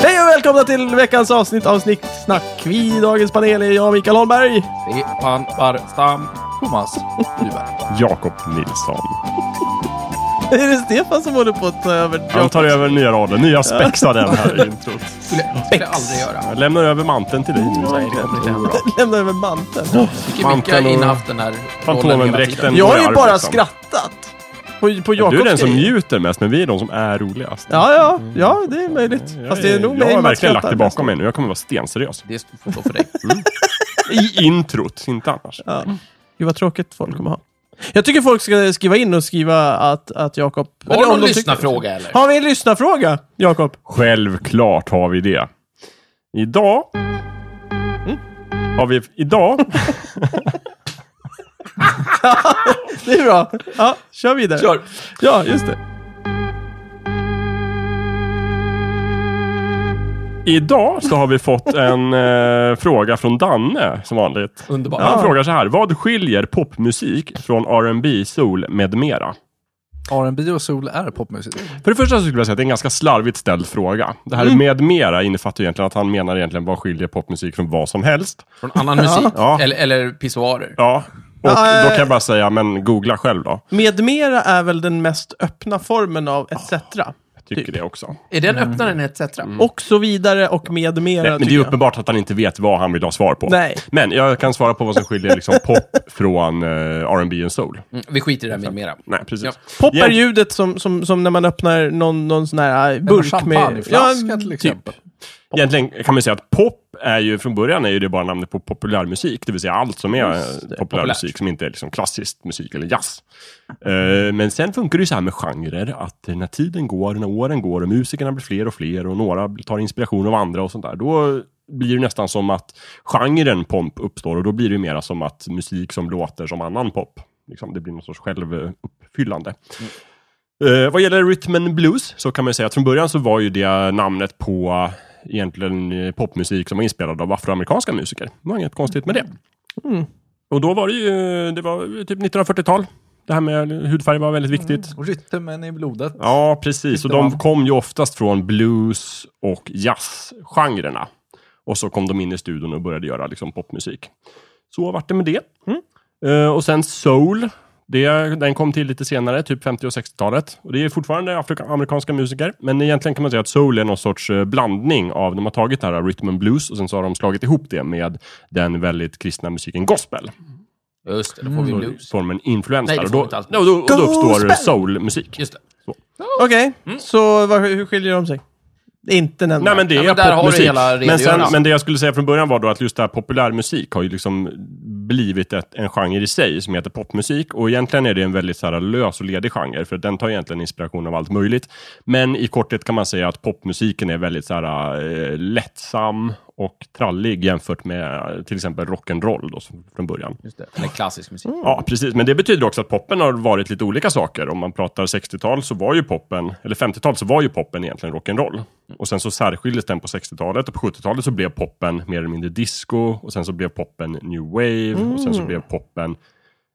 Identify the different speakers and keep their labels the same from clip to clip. Speaker 1: välkomna till veckans avsnitt av Snicksnack. Vi i dagens panel är jag, Mikael Holmberg.
Speaker 2: Stefan Barstam, Thomas Nyberg.
Speaker 3: Jakob Nilsson.
Speaker 1: Är det Stefan som håller på att ta över?
Speaker 3: Han tar över nya raden. Nya spex av den här introt.
Speaker 2: Skulle, skulle jag aldrig göra.
Speaker 3: Jag lämnar över manteln till dig nu. Mm.
Speaker 1: Lämna över manteln.
Speaker 2: Tycker Micke har
Speaker 3: Manteln och
Speaker 2: innehaft den här rollen hela
Speaker 3: Fantomen-dräkten.
Speaker 2: tiden.
Speaker 1: Jag
Speaker 3: går i
Speaker 1: har ju
Speaker 3: arv,
Speaker 1: bara
Speaker 3: liksom.
Speaker 1: skrattat. På, på Jakobs
Speaker 3: Du är den som
Speaker 1: grej.
Speaker 3: njuter mest, men vi är de som är roligast.
Speaker 1: Ja, ja, ja, det är möjligt.
Speaker 3: Jag,
Speaker 1: Fast det är nog
Speaker 3: jag
Speaker 1: mig
Speaker 3: har
Speaker 1: man
Speaker 3: verkligen lagt
Speaker 1: skrattar
Speaker 3: det
Speaker 1: mest.
Speaker 3: bakom mig nu. Jag kommer vara stenseriös.
Speaker 2: Det får stå för dig.
Speaker 3: I introt, inte annars.
Speaker 1: Ja. Gud vad tråkigt folk kommer ha. Jag tycker folk ska skriva in och skriva att, att Jakob...
Speaker 2: Har
Speaker 1: eller
Speaker 2: du
Speaker 1: om
Speaker 2: någon
Speaker 1: de tycker-
Speaker 2: lyssnarfråga eller?
Speaker 1: Har vi en lyssnarfråga, Jakob?
Speaker 3: Självklart har vi det. Idag...
Speaker 1: Mm.
Speaker 3: Har vi... Idag...
Speaker 1: Det är bra. Ja, kör vidare.
Speaker 2: Kör.
Speaker 1: Ja, just det.
Speaker 3: Idag så har vi fått en eh, fråga från Danne, som vanligt.
Speaker 2: Underbart.
Speaker 3: Han frågar så här. Vad skiljer popmusik från R&B, soul med mera?
Speaker 4: R&B och soul är popmusik.
Speaker 3: För det första så skulle jag säga att det är en ganska slarvigt ställd fråga. Det här med mera innefattar ju egentligen att han menar egentligen vad skiljer popmusik från vad som helst.
Speaker 2: Från annan musik.
Speaker 3: Ja.
Speaker 2: Eller, eller pissoarer.
Speaker 3: Ja. Och
Speaker 1: Ah,
Speaker 3: då
Speaker 1: eh.
Speaker 3: kan jag bara säga, men googla själv då.
Speaker 1: Med mera är väl den mest öppna formen av etc.
Speaker 3: Jag tycker det också.
Speaker 2: Är den öppnare än etc?
Speaker 3: Mm.
Speaker 1: Och så vidare och med mera.
Speaker 3: Nej, men det
Speaker 1: tycker
Speaker 3: är
Speaker 1: jag.
Speaker 3: uppenbart att han inte vet vad han vill ha svar på.
Speaker 1: Nej.
Speaker 3: Men jag kan svara på vad som skiljer liksom pop från eh, R&B och soul.
Speaker 2: Mm, vi skiter i det här med mera.
Speaker 3: Nej, precis.
Speaker 2: Ja.
Speaker 1: Pop är
Speaker 3: Jäm-
Speaker 1: ljudet som, som, som när man öppnar någon, någon sån här äh, burk med...
Speaker 4: champagneflaska till
Speaker 1: typ.
Speaker 4: exempel.
Speaker 3: Egentligen kan man säga att pop är ju, från början är ju det bara namnet på populärmusik, det vill säga allt som är eh, populärmusik som inte är liksom klassisk musik eller jazz. Eh, Men sen funkar det ju så här med genrer, att när tiden går, när åren går och musikerna blir fler och fler och några tar inspiration av andra och sånt där, då blir det nästan som att genren pomp uppstår och då blir det ju mera som att musik som låter som annan pop. Liksom, det blir någon sorts självuppfyllande. Eh, vad gäller rhythm and blues så kan man ju säga att från början så var ju det namnet på eh, egentligen eh, popmusik som var inspelad av afroamerikanska musiker. Det var inget konstigt med det.
Speaker 4: Mm.
Speaker 3: Och då var det ju, det var ju typ 1940-tal. Det här med hudfärg var väldigt viktigt.
Speaker 4: Mm. Och rytmen i blodet.
Speaker 3: Ja, precis. Och de kom ju oftast från blues och jazzgenrerna. Och så kom de in i studion och började göra liksom popmusik. Så vart det med det. Eh, och sen soul. Det, den kom till lite senare, typ 50 och 60-talet. Och det är fortfarande afrika- amerikanska musiker. Men egentligen kan man säga att soul är någon sorts eh, blandning av, de har tagit det här rhythm and blues och sen så har de slagit ihop det med den väldigt kristna musiken gospel.
Speaker 2: Just det, då får vi blues.
Speaker 3: Formen influens
Speaker 2: Nej,
Speaker 3: där.
Speaker 2: det
Speaker 3: Och
Speaker 2: får
Speaker 3: Mm. då,
Speaker 2: vi inte alls.
Speaker 3: och då, och då uppstår
Speaker 1: Gospel!
Speaker 3: soulmusik.
Speaker 2: Just det.
Speaker 1: Okej, så vad, hur skiljer de sig? Inte nämnvärt.
Speaker 3: Mm. Nej, men det
Speaker 2: Ja,
Speaker 3: är
Speaker 2: men där har du
Speaker 3: popmusik.
Speaker 2: hela
Speaker 3: men, sen,
Speaker 2: redogörelsen.
Speaker 3: men det jag skulle säga från början var då att just det här populärmusik har ju liksom blivit ett, en genre i sig som heter popmusik. Och egentligen är det en väldigt så här lös och ledig genre, för den tar egentligen inspiration av allt möjligt. Men i korthet kan man säga att popmusiken är väldigt så här, eh, lättsam och trallig jämfört med eh, till exempel rock'n'roll då, som- från början.
Speaker 2: Just det. Eller klassisk musik.
Speaker 3: Ja, precis. Men det betyder också att poppen har varit lite olika saker. Om man pratar 60-tal så var ju poppen, eller 50-tal så var ju poppen egentligen rock'n'roll. Och sen så särskildes den på 60-talet och på 70-talet så blev poppen mer eller mindre disco och sen så blev poppen new wave och sen
Speaker 1: Mm.
Speaker 3: så blev poppen...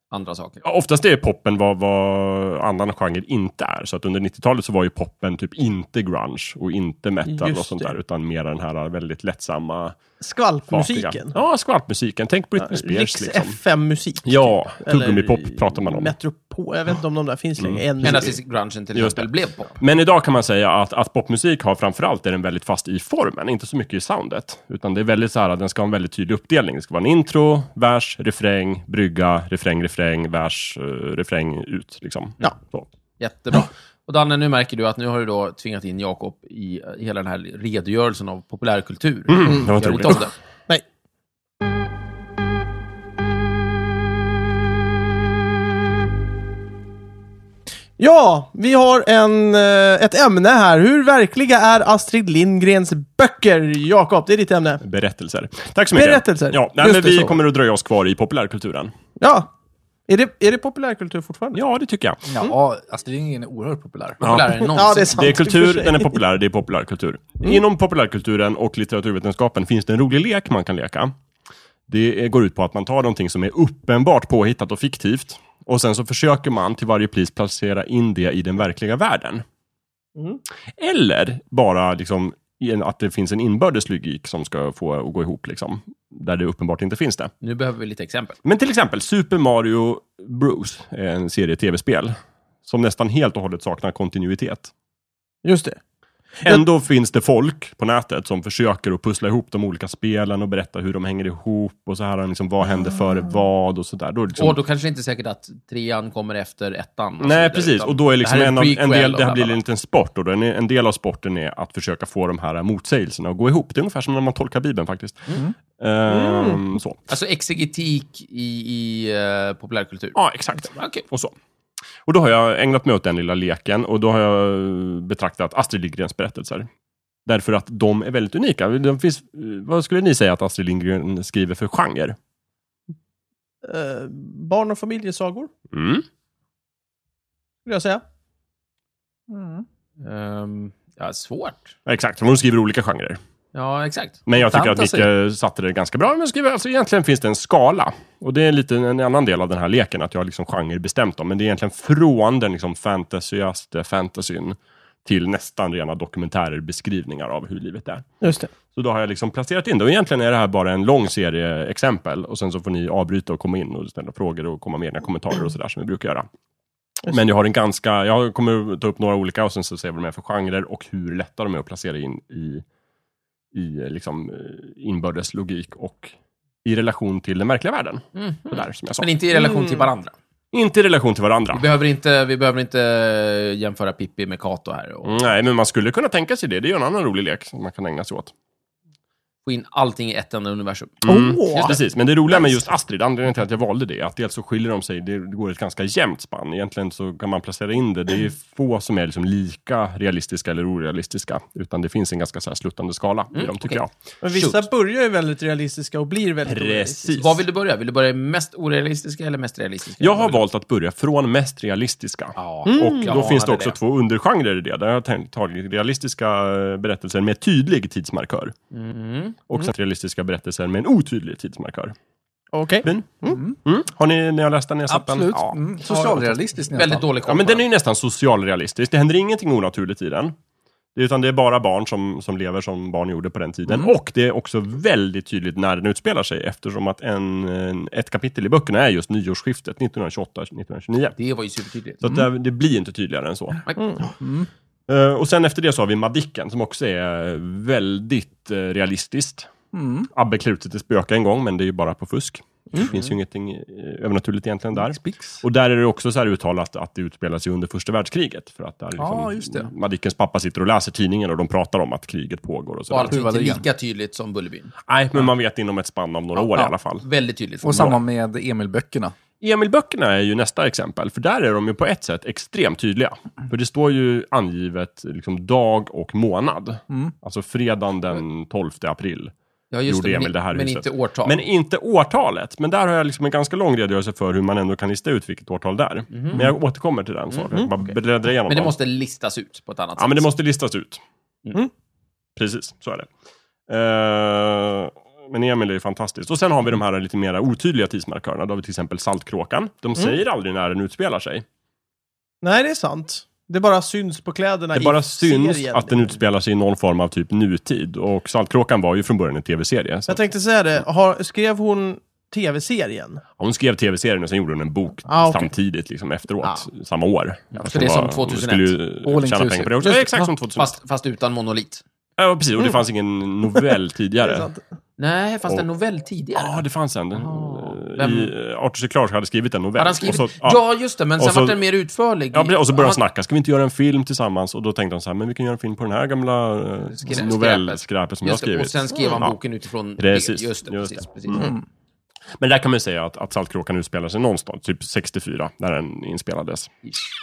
Speaker 2: Andra saker.
Speaker 3: Ja, oftast är poppen vad, vad annan genre inte är. Så att under 90-talet så var ju poppen typ inte grunge och inte metal
Speaker 1: Just
Speaker 3: och sånt
Speaker 1: det.
Speaker 3: där utan mer den här väldigt lättsamma...
Speaker 1: Skvalpmusiken.
Speaker 3: fatiga- Ja, skvalpmusiken. Tänk Britney Spears
Speaker 1: Riks
Speaker 3: liksom.
Speaker 1: FM-musik.
Speaker 3: Ja,
Speaker 1: Eller
Speaker 3: tuggummipop pratar man om. Mm.
Speaker 1: Metropol. Jag vet inte om de där finns längre. än.
Speaker 2: Ända tills grungen till
Speaker 3: Just
Speaker 2: exempel
Speaker 3: det.
Speaker 2: blev pop.
Speaker 3: Men idag kan man säga att, att popmusik har framförallt är den väldigt fast i formen, inte så mycket i soundet. Utan det är väldigt så här, att den ska ha en väldigt tydlig uppdelning. Det ska vara en intro, vers, refräng, brygga, refräng, refräng, vers, eh, refräng, ut. Liksom.
Speaker 1: Ja.
Speaker 3: Så.
Speaker 2: Jättebra. Och Danne, nu märker du att nu har du då tvingat in Jakob i eh, hela den här redogörelsen av populärkultur. Mm,
Speaker 3: det var inte roligt.
Speaker 2: det.
Speaker 1: Nej. Ja, vi har en, eh, ett ämne här. Hur verkliga är Astrid Lindgrens böcker, Jakob? Det är ditt ämne.
Speaker 3: Berättelser. Tack så mycket.
Speaker 1: Berättelser.
Speaker 3: Ja, nej,
Speaker 1: Just
Speaker 3: men
Speaker 1: det,
Speaker 3: vi
Speaker 1: så.
Speaker 3: kommer att dröja oss kvar i populärkulturen.
Speaker 1: Ja. Är det, är det populärkultur fortfarande?
Speaker 3: Ja, det tycker jag.
Speaker 4: Ja, Astrid Lindgren är oerhört populär.
Speaker 2: Mm. Populärare
Speaker 1: Ja,
Speaker 2: än
Speaker 1: det är
Speaker 2: någonsin.
Speaker 1: sant.
Speaker 3: Det är
Speaker 1: i och
Speaker 3: kultur,
Speaker 1: för sig.
Speaker 3: den är populär, det är populärkultur. Inom populärkulturen och litteraturvetenskapen finns det en rolig lek man kan leka. Det eh, går ut på att man tar någonting som är uppenbart påhittat och fiktivt och sen så försöker man till varje pris placera in det i den verkliga världen. Eller bara liksom i en- att det finns en inbördes logik som ska få att gå ihop, liksom, där det uppenbart inte finns det.
Speaker 2: Nu behöver vi lite exempel.
Speaker 3: Men till exempel Super Mario Bros, är en serie tv-spel, som nästan helt och hållet saknar kontinuitet.
Speaker 1: Just det.
Speaker 3: Ändå finns det folk på nätet som försöker att pussla ihop de olika spelen och berätta hur de hänger ihop och så här, liksom, vad hände före vad och sådär. Då, är det liksom,
Speaker 2: Ah. Och då kanske det inte är säkert att trean kommer efter ettan. och så vidare,
Speaker 3: Nej, precis.
Speaker 2: utan
Speaker 3: Och då är liksom
Speaker 2: det här
Speaker 3: en,
Speaker 2: är
Speaker 3: av,
Speaker 2: en
Speaker 3: en
Speaker 2: prequel
Speaker 3: del,
Speaker 2: och
Speaker 3: det här blir
Speaker 2: bla, bla, bla.
Speaker 3: en liten sport. Och då. En, en del av sporten är att försöka få de här motsägelserna att gå ihop. Det är ungefär som när man tolkar Bibeln faktiskt.
Speaker 2: Mm.
Speaker 3: Ehm, så.
Speaker 2: Alltså exegetik i, i eh, populärkultur.
Speaker 3: Ja, exakt.
Speaker 2: Okej.
Speaker 3: Och så. Och då har jag ägnat mig åt den lilla leken och då har jag eh, betraktat Astrid Lindgrens berättelser. Därför att de är väldigt unika. De finns, eh, vad skulle ni säga att Astrid Lindgren skriver för genre?
Speaker 1: Eh, barn och familjesagor,
Speaker 3: Mm.
Speaker 1: skulle jag säga.
Speaker 2: Ehm, ja, svårt.
Speaker 3: Exakt, hon skriver olika genrer.
Speaker 2: Ja, exakt.
Speaker 3: Men jag tycker
Speaker 4: Fantasy.
Speaker 3: att Micke satte det ganska bra. Men skriver, alltså, egentligen finns det en skala. Och det är lite en annan del av den här leken, att jag har liksom genre bestämt dem. Men det är egentligen från den liksom fantasyaste fantasyn till nästan rena dokumentärer, beskrivningar av hur livet är.
Speaker 1: Just det.
Speaker 3: Så då har jag liksom placerat in det. Och egentligen är det här bara en lång serie exempel. Och sen så får ni avbryta och komma in och ställa frågor och komma med egna kommentarer och sådär som vi brukar göra. Men jag har en ganska, jag kommer ta upp några olika och sen så ser vi vad de är för genrer och hur lätta de är att placera in i, i liksom eh, inbördes logik och i relation till den verkliga världen.
Speaker 2: Mm.
Speaker 3: Det där som jag sa.
Speaker 2: Men inte i relation till varandra.
Speaker 3: Inte Mhm. i relation till varandra.
Speaker 2: Vi behöver inte, vi behöver inte eh, jämföra Pippi med Kato här och
Speaker 3: Nej, men man skulle kunna tänka sig det. Det är ju en annan rolig lek som man kan ägna sig åt.
Speaker 2: få in allting i ett enda universum.
Speaker 1: Åh!
Speaker 3: Just precis, men det roliga med just Astrid, anledningen till att jag valde det, är att dels så skiljer de sig, det går ett ganska jämnt spann. Egentligen så kan man placera in det, det är ju få som är liksom lika realistiska eller orealistiska, utan det finns en ganska så här sluttande skala i dem, tycker
Speaker 2: Mm, okej.
Speaker 1: Men vissa börjar ju väldigt realistiska och blir väldigt
Speaker 3: jag.
Speaker 1: orealistiska.
Speaker 3: Precis.
Speaker 2: Vad vill du börja? Vill du börja i mest orealistiska eller mest realistiska?
Speaker 3: Jag har valt att börja från mest realistiska.
Speaker 2: Ja,
Speaker 3: Och
Speaker 2: jag
Speaker 3: då finns det
Speaker 2: anade
Speaker 3: också två undergenrer i det, där jag har tänkt- tagit realistiska eh, berättelser med tydlig tidsmarkör.
Speaker 2: Mm.
Speaker 3: Och sen realistiska berättelser med en otydlig tidsmarkör.
Speaker 1: Okej.
Speaker 3: Fin? Mm. Mm. Har ni, när jag läste den, ni har sett den?
Speaker 4: Absolut.
Speaker 3: Ja.
Speaker 4: Mm. Socialrealistiskt nästan.
Speaker 2: Väldigt dålig koll
Speaker 3: Ja, men
Speaker 2: på
Speaker 3: den är ju nästan socialrealistisk. Det händer ingenting onaturligt i den. Utan det är bara barn som, som lever som barn gjorde på den tiden. Och det är också väldigt tydligt när den utspelar sig eftersom att en, en, ett kapitel i böckerna är just nyårsskiftet 1928-1929.
Speaker 2: Det var ju supertydligt.
Speaker 3: Så att det, det blir inte tydligare än så.
Speaker 2: Nej.
Speaker 3: Eh, och sen efter det så har vi Madicken som också är väldigt eh, realistiskt.
Speaker 4: Mm.
Speaker 3: Abbe Klute till spöka en gång, men det är ju bara på fusk. Det finns ju ingenting eh, övernaturligt egentligen där.
Speaker 4: Spix.
Speaker 3: Och där är det också så här uttalat att det utspelar sig under första världskriget. För att där liksom,
Speaker 4: Ja, just det.
Speaker 3: Madickens pappa sitter och läser tidningen och de pratar om att kriget pågår och
Speaker 2: Och
Speaker 3: sådär.
Speaker 2: allt är inte
Speaker 4: Huvudligen.
Speaker 2: lika tydligt som Bullerbyn.
Speaker 3: Nej, men man vet inom ett spann av några år i
Speaker 4: ja.
Speaker 3: alla fall.
Speaker 2: Väldigt tydligt.
Speaker 4: Och samma med Emil-böckerna.
Speaker 3: Emil-böckerna är ju nästa exempel, för där är de ju på ett sätt extremt tydliga. För det står ju angivet liksom, dag och månad.
Speaker 2: Mm.
Speaker 3: Alltså fredagen den 12 april.
Speaker 2: ja, just
Speaker 3: gjorde
Speaker 2: det, men
Speaker 3: Emil det här
Speaker 2: Men
Speaker 3: huset.
Speaker 2: inte årtal.
Speaker 3: Men inte årtalet. Men där har jag liksom en ganska lång redogörelse för hur man ändå kan lista ut vilket årtal det är. Men jag återkommer till den. Så jag kan bara bläddra igenom
Speaker 2: Mhm. Men det
Speaker 3: dem.
Speaker 2: måste listas ut på ett annat
Speaker 3: Ja,
Speaker 2: sätt.
Speaker 3: men det måste listas ut.
Speaker 1: Mm.
Speaker 3: Precis, så är det. Eh, men Emil är ju fantastiskt. Och sen har vi de här lite mer otydliga tidsmarkörerna. Då har vi till exempel Saltkråkan.
Speaker 2: Mm.
Speaker 3: De säger aldrig när den utspelar sig.
Speaker 1: Nej, det är sant. Det bara syns på kläderna
Speaker 3: Det
Speaker 1: i
Speaker 3: bara syns
Speaker 1: serien.
Speaker 3: att den utspelar sig i någon form av typ nutid. Och Saltkråkan var ju från början en tv-serie. Så
Speaker 1: Jag tänkte säga det, har, skrev hon tv-serien?
Speaker 3: hon skrev tv-serien och sen gjorde hon en bok
Speaker 1: Ah, okej.
Speaker 3: samtidigt, liksom efteråt. Samma år.
Speaker 2: så Ah. det är som 2001.
Speaker 3: Hon skulle ju
Speaker 4: All
Speaker 3: tjäna pengar
Speaker 4: inclusive.
Speaker 3: på det också.
Speaker 1: Just det.
Speaker 3: Exakt som 2001.
Speaker 2: Ah, Fast, fast utan monolit.
Speaker 3: Ja, precis. Och det fanns ingen novell
Speaker 1: Det är
Speaker 3: tidigare.
Speaker 1: sant.
Speaker 2: Nej, fast
Speaker 3: Och-
Speaker 2: en novell tidigare.
Speaker 3: Ja, det fanns en.
Speaker 2: Ah. Vem-
Speaker 3: I, eh, Arthur C. Clarke hade skrivit en novell.
Speaker 2: Hade han skrivit?
Speaker 3: Och så,
Speaker 2: ja.
Speaker 3: ja,
Speaker 2: just det. Men
Speaker 3: Och
Speaker 2: sen
Speaker 3: så-
Speaker 2: var den mer utförlig.
Speaker 3: ja, precis. och så började
Speaker 2: Ja,
Speaker 3: de snacka. Ska vi inte göra en film tillsammans? Och då tänkte de så här, men vi kan göra en film på den här gamla
Speaker 2: Skräpet.
Speaker 3: eh, novellskräpet som jag
Speaker 2: just det,
Speaker 3: skrivit. Mm.
Speaker 2: Och sen skrev han
Speaker 3: Ja.
Speaker 2: boken utifrån
Speaker 3: Precis,
Speaker 2: det. Just det,
Speaker 3: just
Speaker 2: precis.
Speaker 3: det. Mm.
Speaker 2: precis.
Speaker 3: Men där kan man ju säga att, att Saltkråkan utspelar sig någonstans, typ 64, när den inspelades.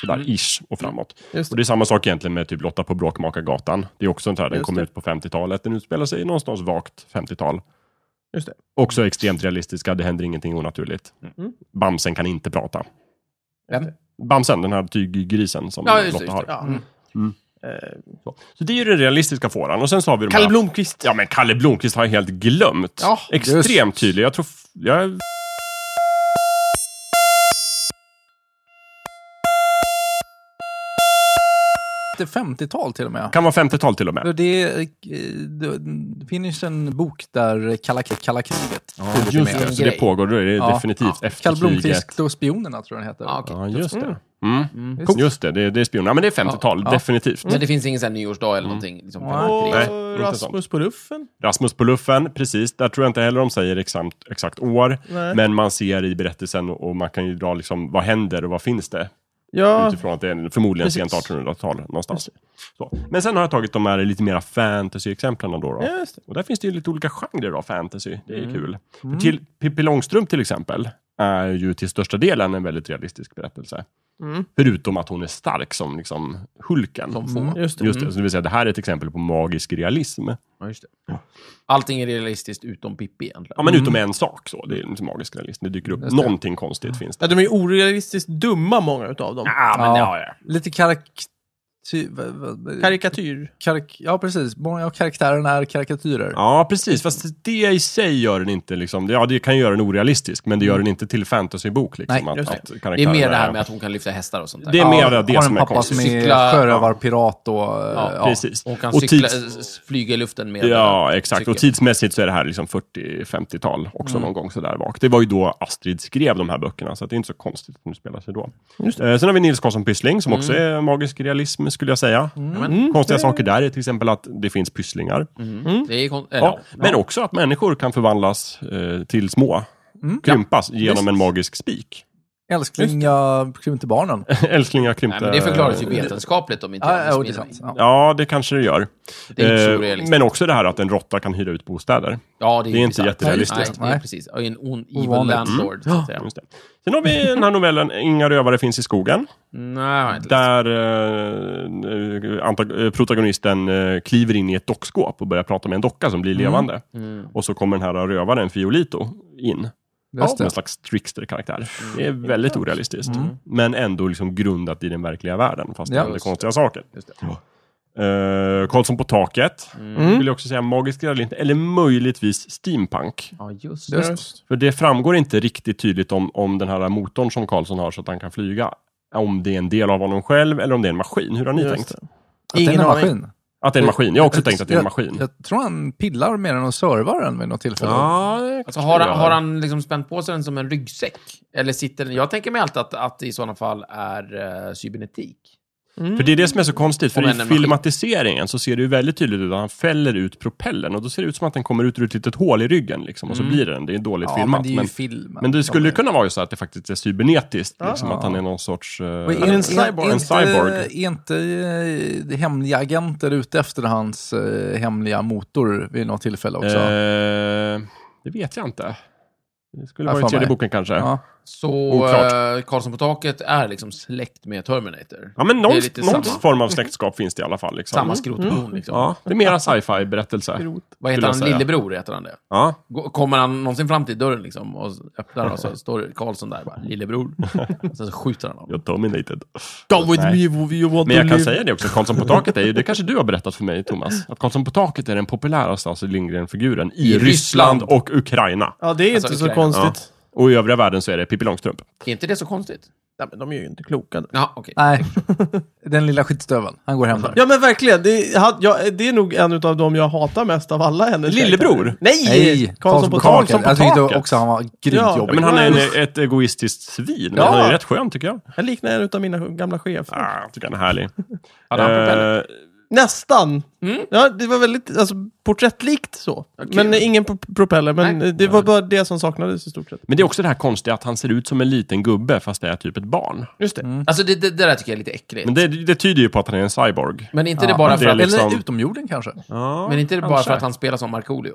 Speaker 3: Sådär, ish, och framåt.
Speaker 1: Just
Speaker 3: Och det är samma sak egentligen med typ Lotta på Bråkmakargatan. Det är också en sån här, den kom ut på 50-talet. Den utspelar sig någonstans vagt 50-tal.
Speaker 1: Just det.
Speaker 3: Också extremt realistiska, det händer ingenting onaturligt. Bamsen kan inte prata.
Speaker 2: Vem?
Speaker 3: Bamsen, den här tyggrisen som
Speaker 2: Ja, just det,
Speaker 3: Lotta
Speaker 2: just
Speaker 3: har. Mm.
Speaker 2: det.
Speaker 1: Ja.
Speaker 3: Så det är ju den realistiska fåran. Och sen så har vi de
Speaker 1: Kalle
Speaker 3: här...
Speaker 1: Blomqvist.
Speaker 3: Ja, men Kalle Blomqvist har jag helt glömt.
Speaker 1: Ja,
Speaker 3: Extremt tydlig. Jag tror... f- Jag...
Speaker 4: det 50-tal till och med.
Speaker 3: Kan vara 50-tal till och med.
Speaker 4: Det, det, eh, det, det finns en bok där kalla, krig- kalla kriget. tydligt är
Speaker 3: Just
Speaker 4: med.
Speaker 3: det, så det
Speaker 2: grej.
Speaker 3: pågår. Då är det
Speaker 4: Ja.
Speaker 3: definitivt efter
Speaker 4: Kall
Speaker 3: kriget.
Speaker 4: Blomkvist och spionerna tror jag den heter.
Speaker 2: Ja, okej.
Speaker 3: Ja, just det. Mm. Just det, det, det är spioner. Ja, men det är 50-tal,
Speaker 4: Ja.
Speaker 3: definitivt.
Speaker 2: Mm. Men det finns ingen sån här nyårsdag eller någonting? Liksom,
Speaker 4: Nej.
Speaker 2: fram till
Speaker 1: Och
Speaker 2: det.
Speaker 3: Mm. Nej,
Speaker 1: eh,
Speaker 3: inte
Speaker 1: Rasmus på luffen.
Speaker 3: Rasmus på luffen, precis. Där tror jag inte heller de säger exakt, exakt år.
Speaker 1: Nej.
Speaker 3: Men man ser i berättelsen och man kan ju dra liksom, vad händer och vad finns det?
Speaker 1: Ja,
Speaker 3: Utifrån att det är förmodligen
Speaker 1: Precis.
Speaker 3: sent 1800-tal någonstans. Så. Men sen har jag tagit de här lite mera fantasy-exemplen då. då.
Speaker 1: ja, just det. Mm.
Speaker 3: Och där finns det ju lite olika genrer av fantasy. Det är kul. För Till Pippi Långstrump till exempel är ju till största delen en väldigt realistisk berättelse.
Speaker 1: Mm.
Speaker 3: Förutom att hon är stark som liksom Hulken.
Speaker 4: Som får. Mm.
Speaker 1: Just det.
Speaker 3: Just det, så det vill säga det här är ett exempel på magisk realism.
Speaker 2: Ja, just det. Allting är realistiskt utom Pippi egentligen.
Speaker 3: Ja,
Speaker 1: Mm.
Speaker 3: men utom en sak så. Det är liksom magisk realism. Det dyker upp någonting konstigt finns
Speaker 1: Ja,
Speaker 3: det.
Speaker 1: de är ju orealistiskt dumma, många utav dem.
Speaker 3: Ja, men ja,
Speaker 4: Ja.
Speaker 3: ja.
Speaker 4: Lite karakty... va- va-
Speaker 1: Karikatyr.
Speaker 4: karik- ja, precis. Många av karaktärerna är karikatyrer.
Speaker 3: Ja, precis. Fast det i sig gör den inte liksom... Ja, det kan göra den orealistisk, men det gör den inte till fantasybok. Liksom,
Speaker 4: Nej,
Speaker 3: att,
Speaker 1: just det.
Speaker 3: att
Speaker 2: Det är
Speaker 3: karaktärerna
Speaker 2: mer det här
Speaker 3: är-
Speaker 2: med att hon kan lyfta hästar och sånt där.
Speaker 3: Det är mer
Speaker 4: Ja,
Speaker 3: det
Speaker 4: har
Speaker 3: som
Speaker 4: en
Speaker 3: är
Speaker 4: pappa som
Speaker 3: konstigt.
Speaker 4: är
Speaker 2: Cykla-
Speaker 4: sjörövarpirat och... Ja,
Speaker 3: Precis.
Speaker 2: Hon kan
Speaker 3: Och
Speaker 2: cykla,
Speaker 3: tids-
Speaker 2: s- flyga i luften med Mm.
Speaker 3: Ja, exakt. Och
Speaker 2: cykel.
Speaker 3: tidsmässigt så är det här liksom 40-50-tal också någon gång sådär bak. Det var ju då Astrid skrev de här böckerna, så att det är inte så konstigt att de spelar sig då. Eh, sen har vi Nils Karlsson Pyssling, som också är magisk realism, skulle jag säga. Mm. Konstiga saker där är till exempel att det finns pysslingar.
Speaker 2: Det är kon-
Speaker 3: Ja,
Speaker 2: ja.
Speaker 3: men också att människor kan förvandlas eh, till små,
Speaker 2: Mm.
Speaker 3: krympas genom en magisk spik.
Speaker 4: Älsklinga krympte barnen.
Speaker 3: Älsklingar krympte...
Speaker 2: Nej, men det förklaras ju vetenskapligt om inte
Speaker 4: Ja,
Speaker 2: jag
Speaker 4: ja, det är
Speaker 2: missminner
Speaker 4: sant.
Speaker 2: mig.
Speaker 4: Ja.
Speaker 3: Ja, det kanske det gör.
Speaker 2: Det är inte så
Speaker 3: Eh,
Speaker 2: realistiskt.
Speaker 3: men också det här att en råtta kan hyra ut bostäder.
Speaker 2: Ja, det är,
Speaker 3: Det är
Speaker 2: ju
Speaker 3: inte
Speaker 2: bisarrt.
Speaker 3: jätterealistiskt.
Speaker 2: Nej, det är
Speaker 4: Nej. Mm.
Speaker 2: precis. Och en on, evil
Speaker 4: Ovanligt.
Speaker 2: landlord, så att säga.
Speaker 3: Just det. Sen har vi den här novellen Inga rövare finns i skogen.
Speaker 2: Nej, jag har inte läst.
Speaker 3: Där eh, anta- eh, protagonisten eh, kliver in i ett dockskåp och börjar prata med en docka som blir levande. Och så kommer den här rövaren Fiolito in.
Speaker 4: Just
Speaker 3: Som en
Speaker 4: det.
Speaker 3: slags trickster-karaktär. Det är väldigt orealistiskt. Men ändå liksom grundat i den verkliga världen, fast det
Speaker 4: Ja.
Speaker 3: händer konstiga saker.
Speaker 2: Just det.
Speaker 3: Uh, Karlsson på taket.
Speaker 1: Mm.
Speaker 3: Vill jag också säga magisk realism, eller möjligtvis steampunk.
Speaker 2: Ja, just det.
Speaker 4: Just.
Speaker 3: För det framgår inte riktigt tydligt om, om den här motorn som Karlsson har så att han kan flyga. Om det är en del av honom själv eller om det är en maskin. Hur har ni
Speaker 1: Just
Speaker 3: tänkt?
Speaker 4: Att det är en
Speaker 1: Ingen aning.
Speaker 4: maskin.
Speaker 3: Att det är en maskin. Jag har också tänkt att det är en
Speaker 4: Jag-
Speaker 3: maskin.
Speaker 4: Jag, tror han pillar med den och servar den vid något tillfälle.
Speaker 3: Ja, det
Speaker 2: Alltså,
Speaker 3: kanske
Speaker 2: har,
Speaker 3: det
Speaker 2: han,
Speaker 3: är.
Speaker 2: har han liksom spänt på sig den som en ryggsäck? Eller sitter den... Jag tänker mig alltid att, att det i sådana fall är eh, cybernetik.
Speaker 3: För det är det som är så konstigt.
Speaker 2: Om
Speaker 3: För i
Speaker 2: än en maskin.
Speaker 3: filmatiseringen så ser det ju väldigt tydligt ut att han fäller ut propellen. Och då ser det ut som att den kommer ut ur ett litet hål i ryggen. Liksom, och så
Speaker 2: Mm.
Speaker 3: blir det den. Det är dåligt
Speaker 4: Ja,
Speaker 3: filmat.
Speaker 4: men det är ju
Speaker 3: men,
Speaker 4: filmen.
Speaker 3: men det skulle ju kunna vara ju så att det faktiskt är cybernetiskt. Liksom,
Speaker 4: Ja.
Speaker 3: Att han är någon sorts... eh,
Speaker 4: Och
Speaker 1: är en cyborg.
Speaker 4: Är
Speaker 3: En
Speaker 4: inte,
Speaker 3: cyborg.
Speaker 4: är inte eh, hemliga agenter ute efter hans eh, hemliga motor vid något tillfälle också?
Speaker 3: eh, det vet jag inte. Det skulle
Speaker 4: Ja,
Speaker 3: vara i
Speaker 4: fan
Speaker 3: tredje
Speaker 4: mig.
Speaker 3: boken kanske.
Speaker 4: ja.
Speaker 2: Så
Speaker 3: Oklart.
Speaker 2: eh, Karlsson på taket är liksom släkt med Terminator.
Speaker 3: Ja, men
Speaker 2: Det är
Speaker 3: någon,
Speaker 2: lite
Speaker 3: någon
Speaker 2: samma.
Speaker 3: form av släktskap finns det i alla fall. Liksom.
Speaker 2: Samma skrotbon, liksom.
Speaker 3: Ja, det är mera sci-fi berättelse.
Speaker 2: Vad heter
Speaker 3: skulle jag
Speaker 2: han?
Speaker 3: säga.
Speaker 2: Lillebror heter han det.
Speaker 3: Ja.
Speaker 2: Gå- Kommer han någonsin fram till dörren liksom och öppnar och så står Karlsson där bara, lillebror. Och Sen så skjuter han honom.
Speaker 3: You're dominated.
Speaker 1: Go with
Speaker 3: Nej.
Speaker 1: me, you want to
Speaker 3: Men jag kan
Speaker 1: live.
Speaker 3: säga det också, Karlsson på taket är ju, det kanske du har berättat för mig Thomas, att Karlsson på taket är den populäraste Astrid Lindgren-figuren i,
Speaker 2: I Ryssland.
Speaker 3: Ryssland och Ukraina.
Speaker 1: Ja, det är
Speaker 2: Alltså,
Speaker 1: inte så
Speaker 2: Ukraina.
Speaker 1: konstigt.
Speaker 3: Och i övriga världen så är det Pippi Långstrump.
Speaker 2: Är inte det så konstigt?
Speaker 1: Nej, men de är ju inte kloka.
Speaker 2: Ja, okej.
Speaker 4: Nej, den lilla skitstöveln. Han går hem där.
Speaker 1: Ja, men verkligen. Det, ha- ja, det är nog en av dem jag hatar mest av alla hennes
Speaker 3: Lillebror?
Speaker 1: karaktärer. Nej! Karlsson på
Speaker 3: taket.
Speaker 1: taket.
Speaker 4: Jag tyckte
Speaker 3: taket.
Speaker 4: också han var grymt
Speaker 1: Ja.
Speaker 3: Ja,
Speaker 4: jobbig.
Speaker 3: men han är en, ett egoistiskt svin, men
Speaker 1: Ja.
Speaker 3: han är ju rätt skön tycker jag.
Speaker 1: Han liknar en av mina gamla chefer.
Speaker 3: Ah, jag tycker han är härlig.
Speaker 2: Hade han propeller?
Speaker 3: Eh,
Speaker 1: Nästan.
Speaker 2: Mm.
Speaker 1: Ja, det var väldigt alltså, porträttlikt så. Men eh, ingen pro- propeller, men
Speaker 2: Nej.
Speaker 1: eh, det var bara det som saknades i stort sett.
Speaker 3: men det är också det här konstiga att han ser ut som en liten gubbe fast det är typ ett barn.
Speaker 1: Just det.
Speaker 2: Alltså det, det, det där tycker jag är lite äckligt.
Speaker 3: Mm. Men det, det tyder ju på att han är en cyborg.
Speaker 2: Men inte det
Speaker 4: Ja,
Speaker 2: bara
Speaker 3: men
Speaker 2: för
Speaker 3: det
Speaker 2: att...
Speaker 3: är liksom-
Speaker 4: Eller utomjorden kanske.
Speaker 3: Ja,
Speaker 2: Men inte det bara
Speaker 3: kanske.
Speaker 2: för att han spelar som Markoolio?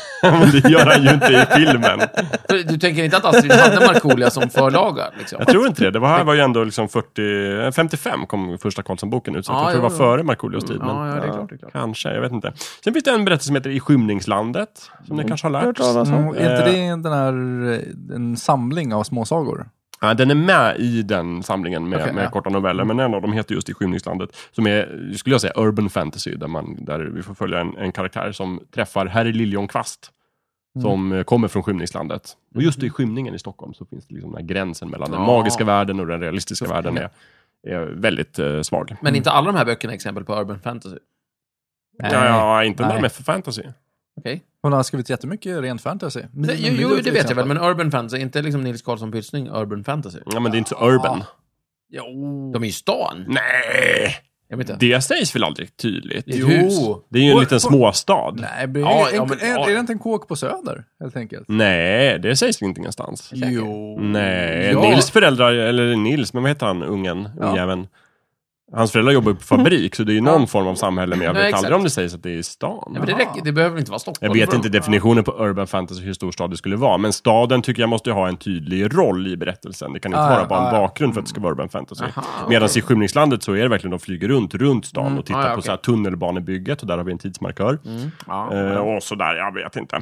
Speaker 3: Men det gör han ju inte i filmen.
Speaker 2: För Du tänker inte att Astrid hade Markoolio som förlaga? Liksom?
Speaker 3: Jag tror inte det. Det var, här var ju ändå liksom 40, 55 kom första Karlsson-boken ut. Så
Speaker 2: Ja,
Speaker 3: jag tror det
Speaker 2: ja,
Speaker 3: var
Speaker 2: ja.
Speaker 3: före Markoolios tid. Men
Speaker 2: Ja, ja, det är klart. Det är klart.
Speaker 3: Kanske, jag vet inte. Sen finns det en berättelse som heter I skymningslandet. Som ni kanske har lärt
Speaker 1: Hört talas om.
Speaker 4: Mm, är inte
Speaker 3: Eh.
Speaker 4: det den här, eh, en samling av småsagor?
Speaker 3: Ja, den är med i den samlingen med,
Speaker 4: Okej,
Speaker 3: med
Speaker 4: ja.
Speaker 3: korta noveller. Men en av dem heter just I skymningslandet. Som är, skulle jag säga, urban fantasy. Där, man, där vi får följa en, en karaktär som träffar herr Liljonkvast. Som eh, kommer från skymningslandet. Och just i skymningen i Stockholm så finns det liksom den här gränsen mellan den
Speaker 2: Ja.
Speaker 3: magiska världen och den realistiska världen. Är är väldigt eh, svag.
Speaker 2: Men inte alla de här böckerna är exempel på urban fantasy.
Speaker 4: Nej.
Speaker 3: ja, ja, inte
Speaker 4: Nej.
Speaker 3: när de är för fantasy.
Speaker 2: Okej?
Speaker 4: Hon har skrivit jättemycket rent fantasy.
Speaker 2: Det- Jo, jo, det vet jag väl, men urban fantasy, inte liksom Nils Karlsson Pyssling urban fantasy?
Speaker 3: Ja, men det är inte så urban.
Speaker 2: Jo. De är i stan.
Speaker 3: Nej!
Speaker 2: Jag vet inte.
Speaker 3: Oh. Det sägs väl aldrig tydligt?
Speaker 2: Det är ett hus.
Speaker 3: Det är ju en
Speaker 4: På-
Speaker 3: liten
Speaker 4: på-
Speaker 3: småstad. Nej.
Speaker 4: Nej, det är,
Speaker 2: Ja, ja,
Speaker 4: en,
Speaker 2: men-
Speaker 4: är, är det inte en kåk på Söder, helt enkelt?
Speaker 3: det sägs inte någonstans.
Speaker 2: Säkert.
Speaker 4: Jo.
Speaker 3: Nej,
Speaker 4: Ja.
Speaker 3: Nils föräldrar, eller Nils, men vad heter han, ungen,
Speaker 4: Ja.
Speaker 3: ungjäveln? Hans föräldrar jobbar ju på fabrik, så det är ju någon form av samhälle, men jag
Speaker 2: Nej,
Speaker 3: vet
Speaker 2: exakt.
Speaker 3: aldrig om det sägs att det är i stan.
Speaker 2: Ja, men det, räcker, det behöver inte vara Stockholm.
Speaker 3: Jag vet
Speaker 2: för-
Speaker 3: inte definitionen på urban fantasy, hur stor stad det skulle vara, men staden tycker jag måste ju ha en tydlig roll i berättelsen. Det kan inte
Speaker 4: Ah,
Speaker 3: vara
Speaker 4: ja,
Speaker 3: bara en
Speaker 4: ah, ja.
Speaker 3: bakgrund för att det ska vara urban fantasy.
Speaker 2: Aha,
Speaker 3: Medan i Skymningslandet så är det verkligen, de flyger runt, runt stan och tittar
Speaker 2: Ah, ja,
Speaker 3: på
Speaker 2: okej. Mm.
Speaker 3: så här tunnelbanebygget och där har vi en tidsmarkör.
Speaker 2: Ja.
Speaker 3: Eh, och sådär, jag vet inte.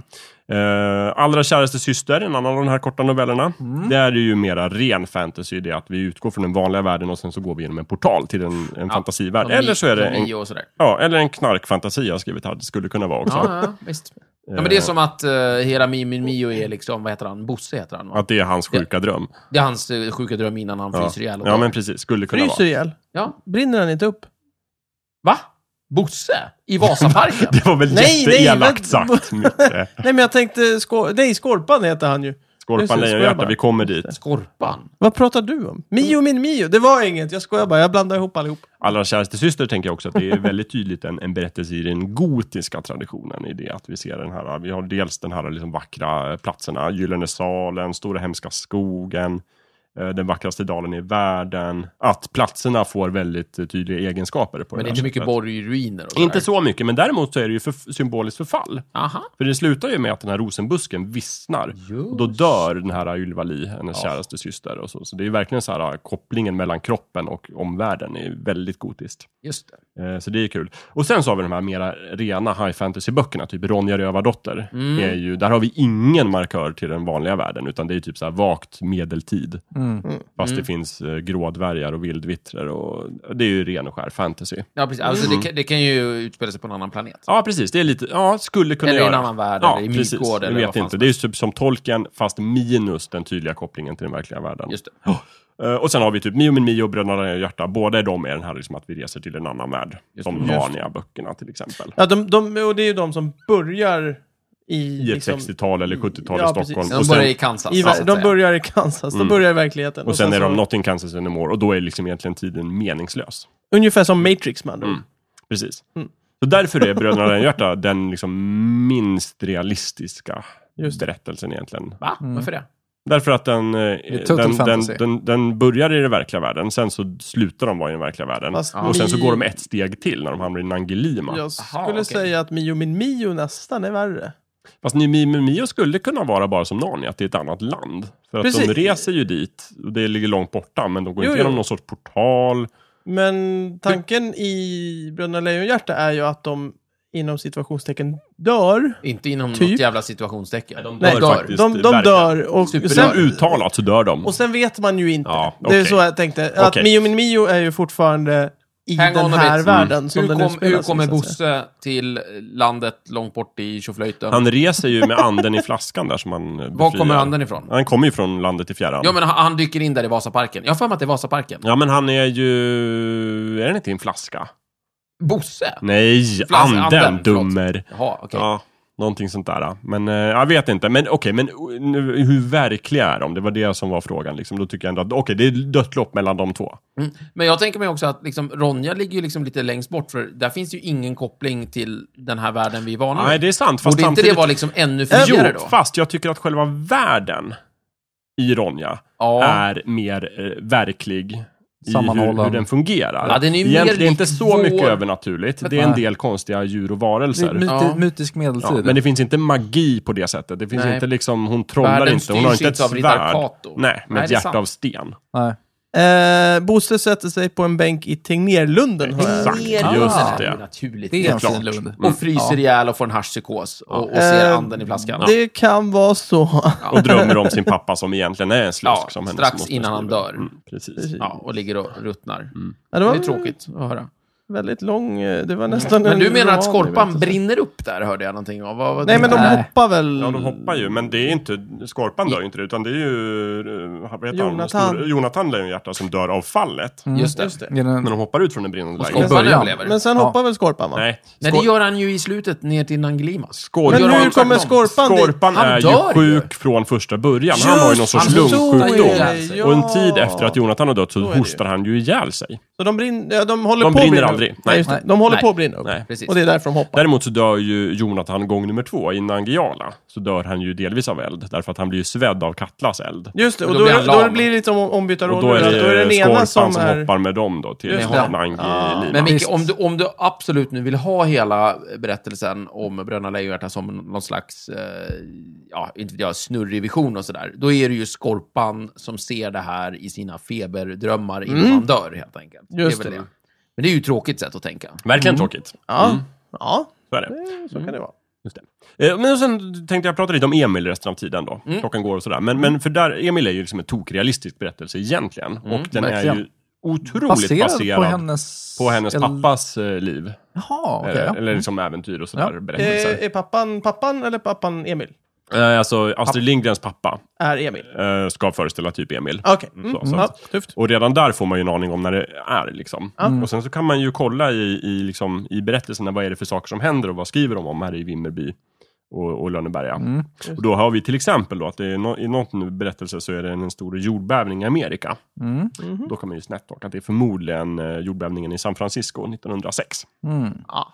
Speaker 3: Eh, Allra käraste syster, en annan av de här korta novellerna.
Speaker 2: Mm.
Speaker 3: Där är det ju mera ren fantasy, det att vi utgår från den vanliga världen och sen så går vi genom en portal till en, en fantasivärld.
Speaker 2: De är-
Speaker 3: Eller så är det
Speaker 2: de är
Speaker 3: en,
Speaker 2: och sådär.
Speaker 3: ja, eller en knarkfantasi jag har skrivit här, det skulle kunna vara också.
Speaker 2: Ja, ja, visst. Ja, men det är som att uh, hela Mi- Min Mio
Speaker 3: Mm.
Speaker 2: är liksom, vad heter han, Bosse heter han va?
Speaker 3: Att det är hans sjuka dröm.
Speaker 2: Det är hans eh, sjuka dröm innan han
Speaker 3: Ja.
Speaker 2: fryser ihjäl och
Speaker 3: ja,
Speaker 2: dör.
Speaker 3: men precis. Skulle kunna
Speaker 1: Fryser
Speaker 3: vara.
Speaker 1: ihjäl.
Speaker 2: ja.
Speaker 1: Brinner han inte upp?
Speaker 2: Va? Bosse? I Vasaparken?
Speaker 3: Det var väl
Speaker 1: Nej, nej,
Speaker 3: jätteelakt
Speaker 1: men-
Speaker 3: sagt. Eh, Micke.
Speaker 1: Nej, men jag tänkte... Skor- nej, Skorpan heter han ju. Just
Speaker 3: Skorpan,
Speaker 1: det,
Speaker 3: Lejonhjärta,
Speaker 1: Skorpan.
Speaker 3: vi kommer dit.
Speaker 2: Skorpan?
Speaker 1: Vad pratar du om? Mio, min Mio. Det var inget. Jag skojar bara. Jag blandar ihop allihop.
Speaker 3: Allra käraste syster tänker jag också att det är väldigt tydligt en, en berättelse i den gotiska traditionen i det att vi ser den här, vi har dels den här liksom vackra platserna, Gyllene salen, Stora hemska skogen, eh, den vackraste dalen i världen. Att platserna får väldigt eh, tydliga egenskaper på
Speaker 2: Men det är
Speaker 3: det här
Speaker 2: inte mycket
Speaker 3: sättet.
Speaker 2: borgruiner och sådär.
Speaker 3: Inte så mycket, men däremot så är det ju för, symboliskt förfall.
Speaker 2: Aha.
Speaker 3: För det slutar ju med att den här rosenbusken vissnar. Och då
Speaker 2: Just.
Speaker 3: dör den här Ylva Li, hennes käraste syster. Och så. så det är ju verkligen så här, kopplingen mellan kroppen och omvärlden är väldigt gotiskt.
Speaker 2: Just det.
Speaker 3: Eh, Så det är kul. Och sen så har vi de här mera rena high fantasy-böckerna, typ Ronja Rövardotter. Är ju, där har vi ingen markör till den vanliga världen, utan det är ju typ så här vagt medeltid. Fast det finns eh, grådvärgar och vildvittror. Och, det är ju ren och skär fantasy.
Speaker 2: Ja, precis. Alltså,
Speaker 1: Mm.
Speaker 2: det, kan, det kan ju utspela sig på en annan planet.
Speaker 3: Ja, precis. Det är lite, ja, skulle kunna
Speaker 2: Eller i
Speaker 3: göra.
Speaker 2: en annan värld,
Speaker 3: ja,
Speaker 2: eller i
Speaker 3: precis.
Speaker 2: Midgård, eller
Speaker 3: Jag
Speaker 2: vad
Speaker 3: vet
Speaker 2: fan
Speaker 3: inte.
Speaker 2: som
Speaker 3: Det är ju typ som tolken, fast minus den tydliga kopplingen till den verkliga världen.
Speaker 2: Just det.
Speaker 3: Eh, Och sen har vi typ Mio min Mio och Bröderna Hjärta. Båda de är den här liksom att vi reser till en annan värld.
Speaker 2: Just
Speaker 3: som
Speaker 2: det. Just
Speaker 3: Narnia-böckerna till exempel.
Speaker 1: Ja, de, de, och det är ju de som börjar i...
Speaker 3: i ett
Speaker 1: liksom-
Speaker 3: 60-tal eller 70-tal
Speaker 1: Ja,
Speaker 3: i
Speaker 1: precis.
Speaker 3: Stockholm.
Speaker 2: De
Speaker 3: Och sen,
Speaker 2: börjar i Kansas.
Speaker 1: I,
Speaker 2: så att
Speaker 1: ver- de
Speaker 2: säga.
Speaker 1: börjar i Kansas, de börjar i verkligheten.
Speaker 3: Mm. och sen, är de
Speaker 1: så-
Speaker 3: not in Kansas anymore och då är liksom egentligen tiden meningslös.
Speaker 1: Ungefär som Matrix man. Mm.
Speaker 3: Precis. Så därför är Bröderna Lejonhjärta den liksom minst realistiska
Speaker 1: Just
Speaker 3: berättelsen egentligen.
Speaker 2: Va?
Speaker 1: Mm.
Speaker 2: Varför det?
Speaker 3: Därför att den, eh, den,
Speaker 4: total
Speaker 3: den,
Speaker 4: fantasy.
Speaker 3: den, den börjar i den verkliga världen, sen så slutar de vara i den verkliga världen.
Speaker 1: Fast
Speaker 3: och sen så
Speaker 1: ni-
Speaker 3: går de ett steg till när de hamnar i Nangilima.
Speaker 1: Jag skulle
Speaker 2: okej.
Speaker 1: säga att Mio min Mio nästan är värre.
Speaker 3: Fast Ny Mio Mio skulle kunna vara bara som Narnia, att det är ett annat land. För att
Speaker 1: Precis.
Speaker 3: de reser ju dit, och det ligger långt borta, men de går
Speaker 1: Jo,
Speaker 3: inte genom
Speaker 1: jo.
Speaker 3: någon sorts portal.
Speaker 1: Men tanken i Bröderna Lejonhjärta är ju att de inom situationstecken dör.
Speaker 2: Inte inom
Speaker 1: Typ.
Speaker 2: något jävla situationstecken. Nej, de
Speaker 1: Nej, dör.
Speaker 3: faktiskt.
Speaker 1: De, de
Speaker 3: verkligen.
Speaker 1: dör. Och
Speaker 3: Sen
Speaker 1: sen,
Speaker 3: uttalat så dör de.
Speaker 1: och sen vet man ju inte.
Speaker 3: Ja,
Speaker 1: Det är
Speaker 3: okej.
Speaker 1: så jag tänkte. Att
Speaker 3: Okej.
Speaker 1: Mio min Mio är ju fortfarande i
Speaker 2: Hang on
Speaker 1: den
Speaker 2: a
Speaker 1: här
Speaker 2: bit. Mm.
Speaker 1: världen som
Speaker 2: Hur,
Speaker 1: den
Speaker 2: kom,
Speaker 1: utspelar
Speaker 2: hur
Speaker 1: sig,
Speaker 2: kommer
Speaker 1: så att säga.
Speaker 2: Bosse till landet långt bort i tjoflöjten?
Speaker 3: Han reser ju med anden i flaskan där som han eh,
Speaker 2: Var
Speaker 3: befriar.
Speaker 2: kommer anden ifrån?
Speaker 3: Han kommer ju från landet i fjärran.
Speaker 2: Ja, men han, han dyker in där i Vasaparken. Jag har för mig att det är Vasaparken.
Speaker 3: Ja, men han är ju... Är den inte i en flaska?
Speaker 2: Bosse?
Speaker 3: Nej,
Speaker 2: Flas- anden,
Speaker 3: anden,
Speaker 2: förlåt.
Speaker 3: dummer.
Speaker 2: Jaha, okej.
Speaker 3: Ja, någonting sånt där. Men eh, jag vet inte. Men okej, men o- nu, hur verkliga är de? Det var det som var frågan. Liksom. Då tycker jag ändå att okej, det är dött lopp mellan de två.
Speaker 2: Mm. Men jag tänker mig också att liksom, Ronja ligger ju liksom lite längst bort, för där finns ju ingen koppling till den här världen vi är vana
Speaker 3: Nej, det är sant. Fast
Speaker 2: Borde inte det
Speaker 3: samtidigt...
Speaker 2: vara liksom ännu
Speaker 3: Jo,
Speaker 2: friare då?
Speaker 3: fast jag tycker att själva världen i Ronja
Speaker 2: Ja.
Speaker 3: är mer eh, verklig i hur,
Speaker 4: Sammanhållen.
Speaker 3: hur den fungerar.
Speaker 2: Ja, den är ju
Speaker 3: Egentligen
Speaker 2: mer
Speaker 3: det är inte
Speaker 2: lik
Speaker 3: så
Speaker 2: vår-
Speaker 3: mycket övernaturligt. Det är en
Speaker 4: Nej.
Speaker 3: del konstiga djur och
Speaker 4: My,
Speaker 3: varelser.
Speaker 4: mytisk-
Speaker 2: Ja.
Speaker 4: Mytisk medeltid.
Speaker 3: Ja, men det finns inte magi på det sättet. Det finns
Speaker 2: Nej.
Speaker 3: inte liksom, hon trollar
Speaker 2: Världen
Speaker 3: inte. Hon har
Speaker 2: styrs
Speaker 3: inte ett
Speaker 2: inte av riddar
Speaker 3: svärd.
Speaker 2: Kato.
Speaker 3: Nej, med
Speaker 2: Nej,
Speaker 3: ett
Speaker 2: det är
Speaker 3: hjärta
Speaker 2: sant.
Speaker 3: av sten.
Speaker 4: Nej.
Speaker 1: Eh, Bosse sätter sig på en bänk i Tegnérlunden. har jag-
Speaker 3: Exakt,
Speaker 2: Ner-
Speaker 3: just
Speaker 2: Ja,
Speaker 3: det.
Speaker 2: Naturligt.
Speaker 4: Det är en
Speaker 3: klart. Mm.
Speaker 4: fin lund.
Speaker 2: Och fryser ihjäl och får en haschpsykos och, och ser
Speaker 1: Eh,
Speaker 2: anden i flaskan.
Speaker 1: Det kan vara så.
Speaker 3: Och drömmer om sin pappa som egentligen är en slusk.
Speaker 2: Ja,
Speaker 3: som hennes
Speaker 2: strax
Speaker 3: moster
Speaker 2: innan han
Speaker 3: skriver.
Speaker 2: dör.
Speaker 3: Mm, precis.
Speaker 2: Ja, och ligger och ruttnar.
Speaker 1: Ja,
Speaker 2: Det
Speaker 1: var
Speaker 2: är tråkigt att höra.
Speaker 1: väldigt lång... eh, Det var nästan
Speaker 2: Men
Speaker 1: en
Speaker 2: du menar att
Speaker 1: roman, jag
Speaker 2: skorpan
Speaker 1: vet.
Speaker 2: brinner upp där, hörde jag någonting av. Vad, vad
Speaker 1: Nej, men de
Speaker 4: Nej.
Speaker 1: hoppar väl...
Speaker 3: Ja, de hoppar ju, men det är inte, Skorpan dör ju inte utan det är ju, eh, vad heter
Speaker 1: Jonathan.
Speaker 3: han? Stor, Jonathan Lejonhjärta som dör av fallet.
Speaker 2: Just det.
Speaker 4: Är den-
Speaker 3: Men de hoppar ut från den brinnande
Speaker 2: Mm. Skorpan
Speaker 3: lägenheten.
Speaker 1: Skorpan
Speaker 2: överlever.
Speaker 1: Men sen
Speaker 4: Ja.
Speaker 1: hoppar väl Skorpan, va?
Speaker 3: Nej,
Speaker 2: Nej, det gör han ju i slutet, ner till Nanglimas.
Speaker 3: Skor-
Speaker 1: Men
Speaker 2: gör han
Speaker 1: hur kommer
Speaker 2: tvärtom.
Speaker 1: Skorpan dit?
Speaker 3: Skorpan
Speaker 2: Han
Speaker 3: är
Speaker 2: dör
Speaker 3: ju
Speaker 2: ju.
Speaker 3: sjuk från första början. Han har ju någon
Speaker 1: Just, Alltså,
Speaker 3: sorts
Speaker 2: han hotar
Speaker 3: lungsjukdom.
Speaker 2: ihjäl
Speaker 1: sig.
Speaker 3: Och en
Speaker 1: Ja.
Speaker 3: tid efter att Jonathan har dött så,
Speaker 1: Så är det
Speaker 3: hostar han ju ihjäl sig.
Speaker 1: Så de, brinner, ja, de håller
Speaker 3: De
Speaker 1: på att
Speaker 3: brinner
Speaker 1: brinna upp.
Speaker 3: aldrig. Nej.
Speaker 1: Nej, just det. De håller
Speaker 2: Nej.
Speaker 1: på att brinna upp.
Speaker 3: Nej.
Speaker 2: Precis.
Speaker 1: Och det är därför de hoppar.
Speaker 3: Däremot så dör ju Jonathan gång nummer två i Nangiala. Så dör han ju delvis av eld. Därför att han blir ju svedd av Katlas eld.
Speaker 1: Just det, och
Speaker 2: Då
Speaker 1: då,
Speaker 2: blir
Speaker 1: är-
Speaker 2: han
Speaker 1: då
Speaker 2: lam.
Speaker 1: blir det lite om, ombytta
Speaker 3: Och
Speaker 1: roller.
Speaker 3: då är det,
Speaker 1: då är det den ena
Speaker 3: Skorpan
Speaker 1: som
Speaker 3: som,
Speaker 1: är...
Speaker 3: hoppar med dem då till
Speaker 1: Just
Speaker 2: det.
Speaker 3: Nangilima.
Speaker 2: Men Micke,
Speaker 4: Visst.
Speaker 2: om du, om du absolut nu vill ha hela berättelsen om Bröderna Lejonhjärta som någon slags, eh, ja, inte vet jag, snurrig vision och sådär, då är det ju Skorpan som ser det här i sina feberdrömmar innan han dör, helt enkelt.
Speaker 1: Just
Speaker 2: det. är väl
Speaker 1: det.
Speaker 2: det. Men det är ju ett tråkigt sätt att tänka.
Speaker 3: Verkligen tråkigt.
Speaker 1: Ja, ja
Speaker 3: Så är det.
Speaker 1: så kan det vara.
Speaker 3: Just det. Eh, Men sen tänkte jag prata lite om Emil resten av tiden då. Klockan går och sådär. Men, men för där, Emil är ju liksom en tokrealistisk berättelse egentligen. och den är ju
Speaker 4: verkligen.
Speaker 3: otroligt baserad,
Speaker 4: baserad på hennes...
Speaker 3: på hennes
Speaker 4: eller-
Speaker 3: pappas eh, liv.
Speaker 4: Jaha, okej.
Speaker 3: Eh,
Speaker 4: ja.
Speaker 3: Eller liksom äventyr och sådär.
Speaker 4: Ja.
Speaker 3: Berättelser.
Speaker 1: Eh, Är, är pappan pappan eller pappan Emil?
Speaker 3: Eh, alltså Astrid Lindgrens pappa
Speaker 1: Är Emil.
Speaker 3: eh, ska föreställa typ Emil.
Speaker 1: Okej. Mm.
Speaker 3: Så, så
Speaker 1: Ja,
Speaker 3: att,
Speaker 1: tufft.
Speaker 3: och redan där får man ju en aning om när det är. Liksom. Och sen så kan man ju kolla i, i, liksom, i berättelserna, vad är det för saker som händer och vad skriver de om här i Vimmerby och, och Lönneberga. Och då har vi till exempel då att det är no, i någon berättelse så är det en stor jordbävning i Amerika.
Speaker 4: Mm.
Speaker 3: Då kan man ju snäpptaka att det är förmodligen eh, jordbävningen i San Francisco 1906.
Speaker 4: Mm.
Speaker 2: Ja,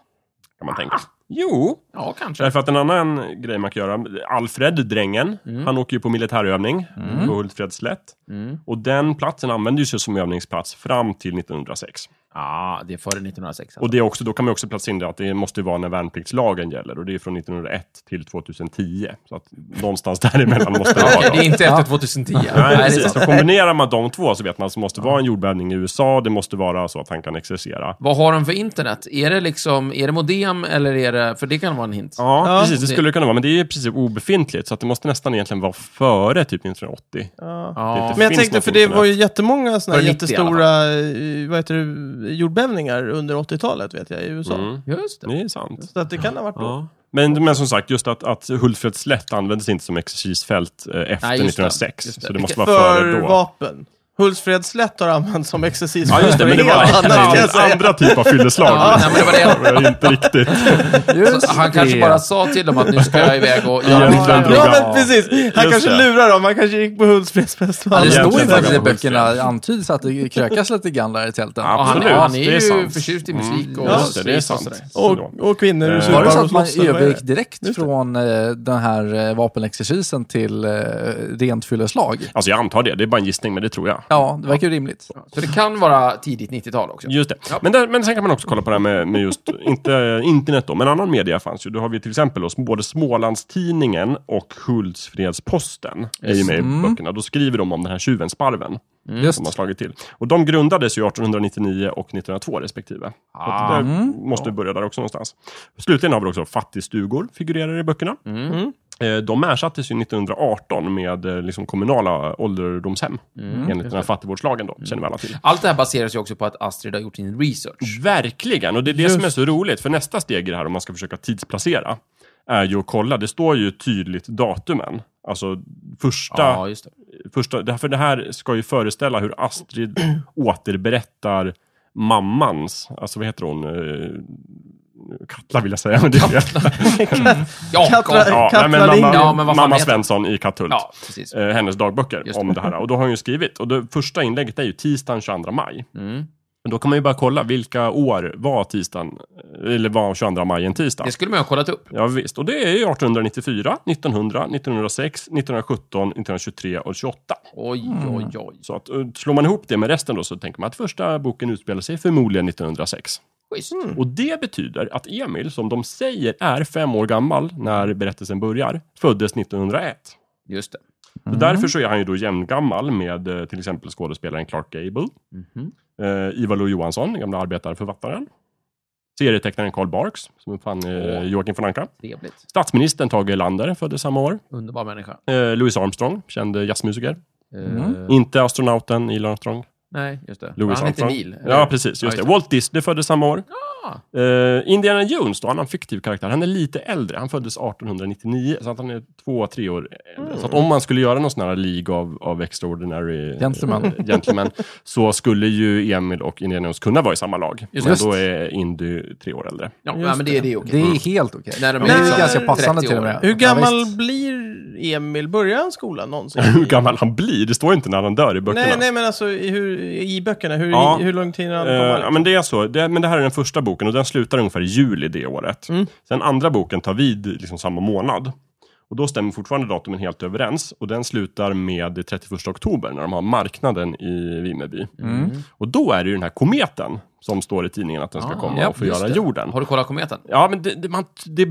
Speaker 3: Kan man tänka. Jo,
Speaker 2: ja kanske.
Speaker 3: Därför att en annan grej man kan göra, Alfred, drängen, han åker ju på militärövning på Hultsfredsslätt.
Speaker 2: Mm.
Speaker 3: Och den platsen använde ju sig som övningsplats fram till 1906.
Speaker 2: Ja, det är före 1906. Alltså.
Speaker 3: Och det är också, då kan man också placera in det att det måste vara när värnpliktslagen gäller och det är från 1901 till 2010. Så att någonstans däremellan måste det vara.
Speaker 2: Okej,
Speaker 3: Då.
Speaker 2: det är inte efter 2010.
Speaker 3: Nej,
Speaker 2: det är
Speaker 3: precis.
Speaker 2: sant.
Speaker 3: Så kombinerar man de två så vet man att det måste vara en jordbävning i USA, det måste vara så att han kan exercera.
Speaker 2: Vad har de för internet? Är det liksom, är det modem eller är det, för det kan vara en hint.
Speaker 3: Ja,
Speaker 1: Ja.
Speaker 3: precis. Det skulle kunna vara, men det är ju precis obefintligt. Så att det måste nästan egentligen vara före typ 1980.
Speaker 1: Ja.
Speaker 2: Ja.
Speaker 1: Men jag
Speaker 3: finns
Speaker 1: tänkte,
Speaker 3: något
Speaker 1: för det var
Speaker 3: internet.
Speaker 1: ju jättemånga såna här
Speaker 2: För 90 i alla
Speaker 1: jättestora eh, vad heter det, jordbävningar under 80-talet, vet jag, i USA.
Speaker 3: Mm.
Speaker 2: Just det.
Speaker 3: Det är sant.
Speaker 1: Så att det kan ha varit då.
Speaker 3: Men, men som sagt, just att, att Hultsfreds slätt användes inte som exercisfält eh, efter
Speaker 2: Nej, just det.
Speaker 3: 1906.
Speaker 2: Just det.
Speaker 3: Så det måste
Speaker 2: Vilket-
Speaker 3: vara före
Speaker 1: För
Speaker 3: då.
Speaker 1: vapen. Hultsfreds slätt har använts som exercis
Speaker 3: Ja, just det. Men det var
Speaker 1: Helt
Speaker 3: en
Speaker 1: annat, kan jag
Speaker 3: helt
Speaker 1: säga.
Speaker 3: andra typ av fylleslag.
Speaker 2: Ja, nej, men det var det.
Speaker 3: Det var inte riktigt.
Speaker 4: Just
Speaker 2: Alltså, Han kanske
Speaker 4: det.
Speaker 2: bara sa till dem att nu ska jag iväg och göra
Speaker 3: Egentligen
Speaker 2: ja,
Speaker 3: drog
Speaker 1: Ja,
Speaker 3: han-
Speaker 1: men precis. Han
Speaker 3: Just
Speaker 1: kanske
Speaker 3: det.
Speaker 1: lurar dem. Han kanske gick på Hultsfreds
Speaker 4: Ja,
Speaker 1: festival.
Speaker 4: det står ju
Speaker 3: Egentligen
Speaker 4: faktiskt i
Speaker 3: frågan om
Speaker 4: böckerna, antyds att det krökas lite grann där i tälten.
Speaker 3: Ja,
Speaker 2: han,
Speaker 3: Absolut,
Speaker 2: han är
Speaker 3: det är
Speaker 2: ju
Speaker 3: sant. Mm.
Speaker 2: förtjust i musik och...
Speaker 3: Just det, det är
Speaker 2: och
Speaker 3: sant.
Speaker 2: sådär.
Speaker 1: och, och kvinnor
Speaker 3: Eh,
Speaker 1: ur
Speaker 4: Var det så
Speaker 1: surbaren
Speaker 4: att man
Speaker 1: slåss. eller vad är
Speaker 4: övergick
Speaker 1: det?
Speaker 4: direkt från eh, den här eh, vapenexercisen till eh, rent fylleslag?
Speaker 3: Alltså jag antar det, det är bara en gissning, men det tror jag.
Speaker 4: Ja, det verkar ju rimligt.
Speaker 2: Så det kan vara tidigt 90-tal också.
Speaker 3: Just det. Men, där, men sen kan man också kolla på det här med, med just, inte internet då, men annan media fanns ju. Då har vi till exempel då, både Smålandstidningen och Hultsfredsposten är ju med i böckerna. Då skriver de om den här tjuven Sparven.
Speaker 4: Mm. Just
Speaker 3: som har slagit till. Och de grundades ju 1899 och 1902 respektive. Ah. Där måste vi börja där också någonstans. Slutligen har vi också fattigstugor, figurerar i böckerna. Eh, De ersattes ju 1918 med eh, liksom kommunala ålderdomshem, enligt den här fattigvårdslagen då, känner vi alla till.
Speaker 2: Allt det här baseras ju också på att Astrid har gjort sin research.
Speaker 3: Verkligen, och det är det som är så roligt, för nästa steg i det här, om man ska försöka tidsplacera, är ju att kolla, det står ju tydligt datumen. Alltså första
Speaker 2: Ja, just det.
Speaker 3: första, det här- för det här ska ju föreställa hur Astrid återberättar mammans, alltså vad heter hon? Eh, Katla vill jag säga, men det är fel.
Speaker 1: Mm.
Speaker 2: Ja,
Speaker 1: Katla-
Speaker 2: kom.
Speaker 3: Ja, nej, men mamma,
Speaker 1: Katlalind.
Speaker 2: Ja, men vad fan
Speaker 3: mamma
Speaker 2: heter hon?
Speaker 3: Svensson i Katthult.
Speaker 2: ja precis.
Speaker 3: Eh, hennes dagböcker
Speaker 2: Just det.
Speaker 3: om det här. Och då har hon ju skrivit, och det första inlägget är ju tisdagen 22 maj.
Speaker 2: Mm.
Speaker 3: Men Då kan man ju bara kolla, vilka år var tisdagen, eh, eller var 22 maj en tisdag?
Speaker 2: Det skulle man ju ha kollat upp.
Speaker 3: Ja visst, och det är ju 1894, 1900, 1906, 1917, 1923 och 28.
Speaker 2: Oj, oj, oj.
Speaker 3: Så att, eh, slår man ihop det med resten då så tänker man att första boken utspelar sig förmodligen 1906.
Speaker 2: Schysst.
Speaker 3: Och det betyder att Emil, som de säger är fem år gammal när berättelsen börjar, föddes 1901.
Speaker 2: Just det.
Speaker 3: Så därför så är han ju då jämngammal med eh, till exempel skådespelaren Clark Gable,
Speaker 2: Mhm.
Speaker 3: eh, Ivar Lo-Johansson, den gamla arbetarförfattaren, serietecknaren Karl Barks, som uppfann eh,
Speaker 2: Åh.
Speaker 3: Joakim von Anka,
Speaker 2: Trevligt.
Speaker 3: statsministern Tage Erlander föddes samma år,
Speaker 2: Underbar människa.
Speaker 3: eh, Louis Armstrong, känd jazzmusiker,
Speaker 2: Eh,
Speaker 4: Mm.
Speaker 3: inte astronauten Neil Armstrong,
Speaker 2: Nej, just det.
Speaker 3: Louis
Speaker 2: han heter
Speaker 3: Armstrong.
Speaker 2: Neil. eller?
Speaker 3: Ja, precis. Just
Speaker 2: Ja, Ah!
Speaker 3: det. Walt Disney föddes samma år. Eh, Indiana Jones, då, han är en fiktiv karaktär. Han är lite äldre. Han föddes 1899, så att han är två, tre år äldre.
Speaker 2: Mm.
Speaker 3: Så att om man skulle göra någon sån här League av, av Extraordinary eh,
Speaker 4: Gentlemen.
Speaker 3: gentlemen, så skulle ju Emil och Indiana Jones kunna vara i samma lag.
Speaker 2: Just
Speaker 3: Men
Speaker 2: det.
Speaker 3: då är Indy tre år äldre.
Speaker 2: Ja,
Speaker 1: Just
Speaker 2: ja, men det är det okej.
Speaker 4: Det är helt okej.
Speaker 2: När de
Speaker 4: Men
Speaker 2: är
Speaker 4: det är
Speaker 1: liksom
Speaker 4: ganska passande
Speaker 2: 30
Speaker 4: till och
Speaker 2: år.
Speaker 4: med.
Speaker 1: Hur gammal
Speaker 4: Ja, visst.
Speaker 1: blir Emil? Börjar han skolan någonsin?
Speaker 3: Hur gammal han blir, det står inte när han dör i böckerna.
Speaker 1: Nej, nej, men alltså i, hur, i böckerna. Hur,
Speaker 3: Ja.
Speaker 1: i, hur lång tid har han
Speaker 3: Eh,
Speaker 1: på
Speaker 3: ja, men det är så. Det, men det här är den första boken och den slutar ungefär i juli det året. Sen andra boken tar vid liksom samma månad. Och då stämmer fortfarande datumen helt överens. Och den slutar med det 31 oktober när de har marknaden i Vimmerby.
Speaker 2: Mm.
Speaker 3: Och då är det ju den här kometen som står i tidningen att den ska
Speaker 2: Ah,
Speaker 3: komma
Speaker 2: ja,
Speaker 3: och
Speaker 2: just
Speaker 3: förgöra
Speaker 2: det.
Speaker 3: jorden.
Speaker 2: Har du kollat kometen?
Speaker 3: Ja, men det, det, man, det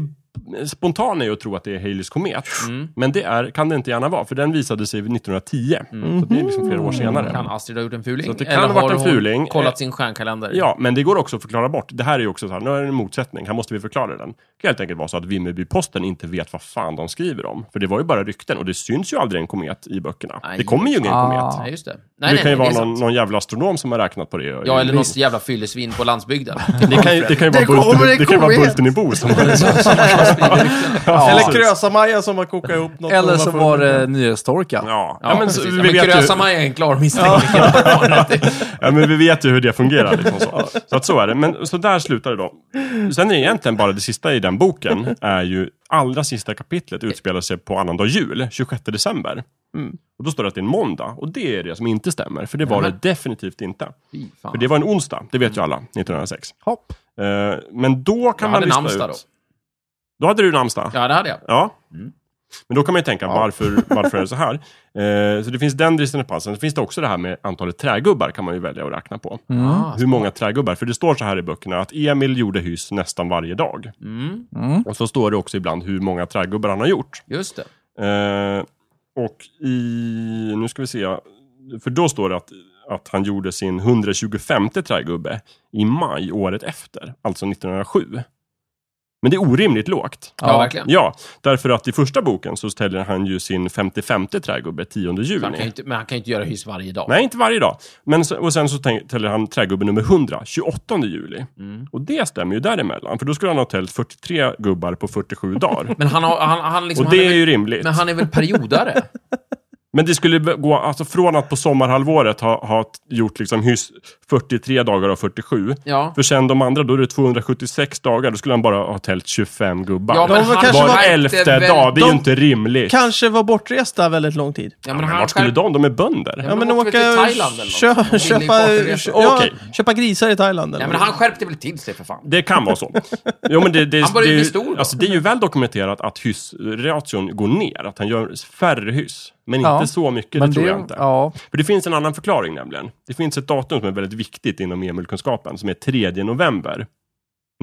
Speaker 3: spontana är ju att tro att det är Haleys komet.
Speaker 2: Mm.
Speaker 3: Men det är, kan det inte gärna vara, för den visade sig 1910. Så det är liksom flera år senare.
Speaker 2: Mm. Kan Astrid ha gjort en fuling?
Speaker 3: Så att det kan
Speaker 2: Eller
Speaker 3: ha varit
Speaker 2: har
Speaker 3: en
Speaker 2: hon
Speaker 3: fuling.
Speaker 2: kollat sin stjärnkalender?
Speaker 3: Ja, men det går också att förklara bort. Det här är ju också så här, nu är det en motsättning, här måste vi förklara den. Det kan helt enkelt vara så att Vimmerby-posten inte vet vad fan de skriver om. För det var ju bara rykten och det syns ju aldrig en komet i böckerna.
Speaker 2: Nej,
Speaker 3: det kommer ju ingen
Speaker 4: ah.
Speaker 3: komet.
Speaker 2: Nej, just det. Nej,
Speaker 3: det
Speaker 2: nej,
Speaker 3: kan ju
Speaker 2: nej, det är
Speaker 3: vara någon,
Speaker 2: sant.
Speaker 3: någon jävla astronom som har räknat på det.
Speaker 2: Ja, eller något jävla fyllesvin på landsbygden.
Speaker 3: det kan ju, det kan ju vara
Speaker 1: kommer en
Speaker 3: Bulten, det kan ju vara
Speaker 1: komet!
Speaker 3: Bulten i Bo som har
Speaker 1: ja, Eller
Speaker 3: precis.
Speaker 1: Krösa-Maja som har kokat ihop något.
Speaker 4: Eller
Speaker 1: och
Speaker 4: så
Speaker 1: full.
Speaker 4: var det nyhetstorka.
Speaker 2: Ja,
Speaker 3: Ja, ja men,
Speaker 2: precis.
Speaker 3: så,
Speaker 2: Ja,
Speaker 3: vi
Speaker 2: men
Speaker 3: vet ju,
Speaker 2: Krösa-Maja är en klar misstänkt.
Speaker 3: ja, men vi vet ju hur det fungerar. Liksom så. så att så är det. Men så där slutar det då. Sen är det egentligen bara det sista i den boken är ju allra sista kapitlet utspelar sig på annandag jul, 26 december.
Speaker 2: Mm.
Speaker 3: Och då står det att det är en måndag och det är det som inte stämmer, för det var det definitivt inte.
Speaker 2: Fy fan.
Speaker 3: För det var en onsdag, det vet ju alla, 1906.
Speaker 4: Hopp.
Speaker 3: Eh, men då kan
Speaker 2: Jag
Speaker 3: man
Speaker 2: hade
Speaker 3: lista ut...
Speaker 2: namnsdag
Speaker 3: Då.
Speaker 2: då.
Speaker 3: då hade du namnsdag?
Speaker 2: Ja, Mm. det hade jag.
Speaker 3: Ja. Men då kan man ju tänka, varför, varför är det så här? Eh, så det finns den discrepansen. Sen finns det också det här med antalet trägubbar kan man ju välja att räkna på.
Speaker 2: Ah,
Speaker 3: Hur många trägubbar? För det står så här i böckerna att Emil gjorde hyss nästan varje dag.
Speaker 2: mm,
Speaker 3: Och så står det också ibland hur många trägubbar han har gjort.
Speaker 2: just det.
Speaker 3: Eh, och i, nu ska vi se, för då står det att, att han gjorde sin 125 trägubbe i maj året efter, alltså 1907. Men det är orimligt lågt.
Speaker 2: Ja,
Speaker 4: Ja.
Speaker 2: verkligen.
Speaker 3: Ja, därför att i första boken så ställer han ju sin 55 trägubbe 10
Speaker 2: Så Han kan ju
Speaker 3: juni.
Speaker 2: inte, men han kan ju inte göra hyss varje dag.
Speaker 3: Nej, inte varje dag. Men, så- och sen så tänk- täller han trägubbe nummer 100, 28 juli.
Speaker 2: Mm.
Speaker 3: Och det stämmer ju däremellan, för då skulle han ha tällt 43 gubbar på 47 dagar.
Speaker 2: Men han har... Han, han liksom,
Speaker 3: Och det
Speaker 2: han
Speaker 3: är
Speaker 2: väl-
Speaker 3: ju rimligt.
Speaker 2: Men han är väl periodare?
Speaker 3: Men det skulle be- gå, alltså från att på sommarhalvåret ha, ha t- gjort liksom hyss 43 dagar av 47.
Speaker 2: Ja.
Speaker 3: För sen de andra, då är det 276 dagar, då skulle han bara ha tält 25 gubbar.
Speaker 2: Ja,
Speaker 1: men
Speaker 2: han
Speaker 1: kanske
Speaker 3: var,
Speaker 1: var-
Speaker 3: elfte
Speaker 2: inte väl-
Speaker 3: dag, det är ju
Speaker 1: de-
Speaker 3: inte rimligt.
Speaker 1: Kanske var bortresta väldigt lång tid.
Speaker 2: Ja,
Speaker 3: men
Speaker 2: han
Speaker 3: vart skulle
Speaker 2: själv-
Speaker 3: de? De är bönder.
Speaker 1: Ja, men
Speaker 2: åker
Speaker 1: åka...
Speaker 2: väl till Thailand eller
Speaker 1: kö,
Speaker 2: något. Billig
Speaker 1: köpa,
Speaker 2: bortaresa.
Speaker 1: kö, ja,
Speaker 3: Okej.
Speaker 1: köpa grisar i Thailand eller
Speaker 2: Nej, men han skärpte väl till sig för fan.
Speaker 3: Det kan vara så. Jo, men det, det,
Speaker 2: Han börjar
Speaker 3: det,
Speaker 2: bli stor då.
Speaker 3: alltså, det är ju väl dokumenterat att hyssration går ner, att han gör färre hyss. Men
Speaker 4: Ja.
Speaker 3: inte så mycket, det tror jag inte.
Speaker 4: Ja,
Speaker 3: För det finns en annan förklaring nämligen. Det finns ett datum som är väldigt viktigt inom Emil-kunskapen som är 3 november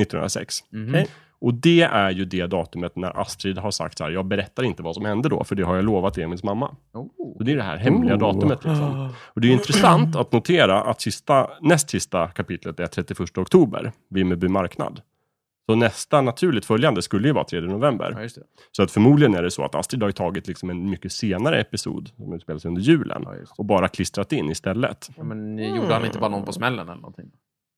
Speaker 3: 1906.
Speaker 2: Mhm.
Speaker 1: Okej.
Speaker 3: Och det är ju det datumet när Astrid har sagt så här, jag berättar inte vad som hände då, för det har jag lovat Emils mamma.
Speaker 2: Oh.
Speaker 3: Och det är det här hemliga datumet. Liksom. Och det är ju intressant att notera att sista, näst sista kapitlet är 31 oktober, Vimmerby marknad. Så nästa naturligt följande skulle ju vara 3 november.
Speaker 2: Ja, just det.
Speaker 3: Så att förmodligen är det så att Astrid har ju tagit liksom en mycket senare episod, som utspelar sig under julen,
Speaker 2: Ja, just det.
Speaker 3: och bara klistrat in istället.
Speaker 2: Ja, men gjorde han inte bara någon på smällen eller någonting?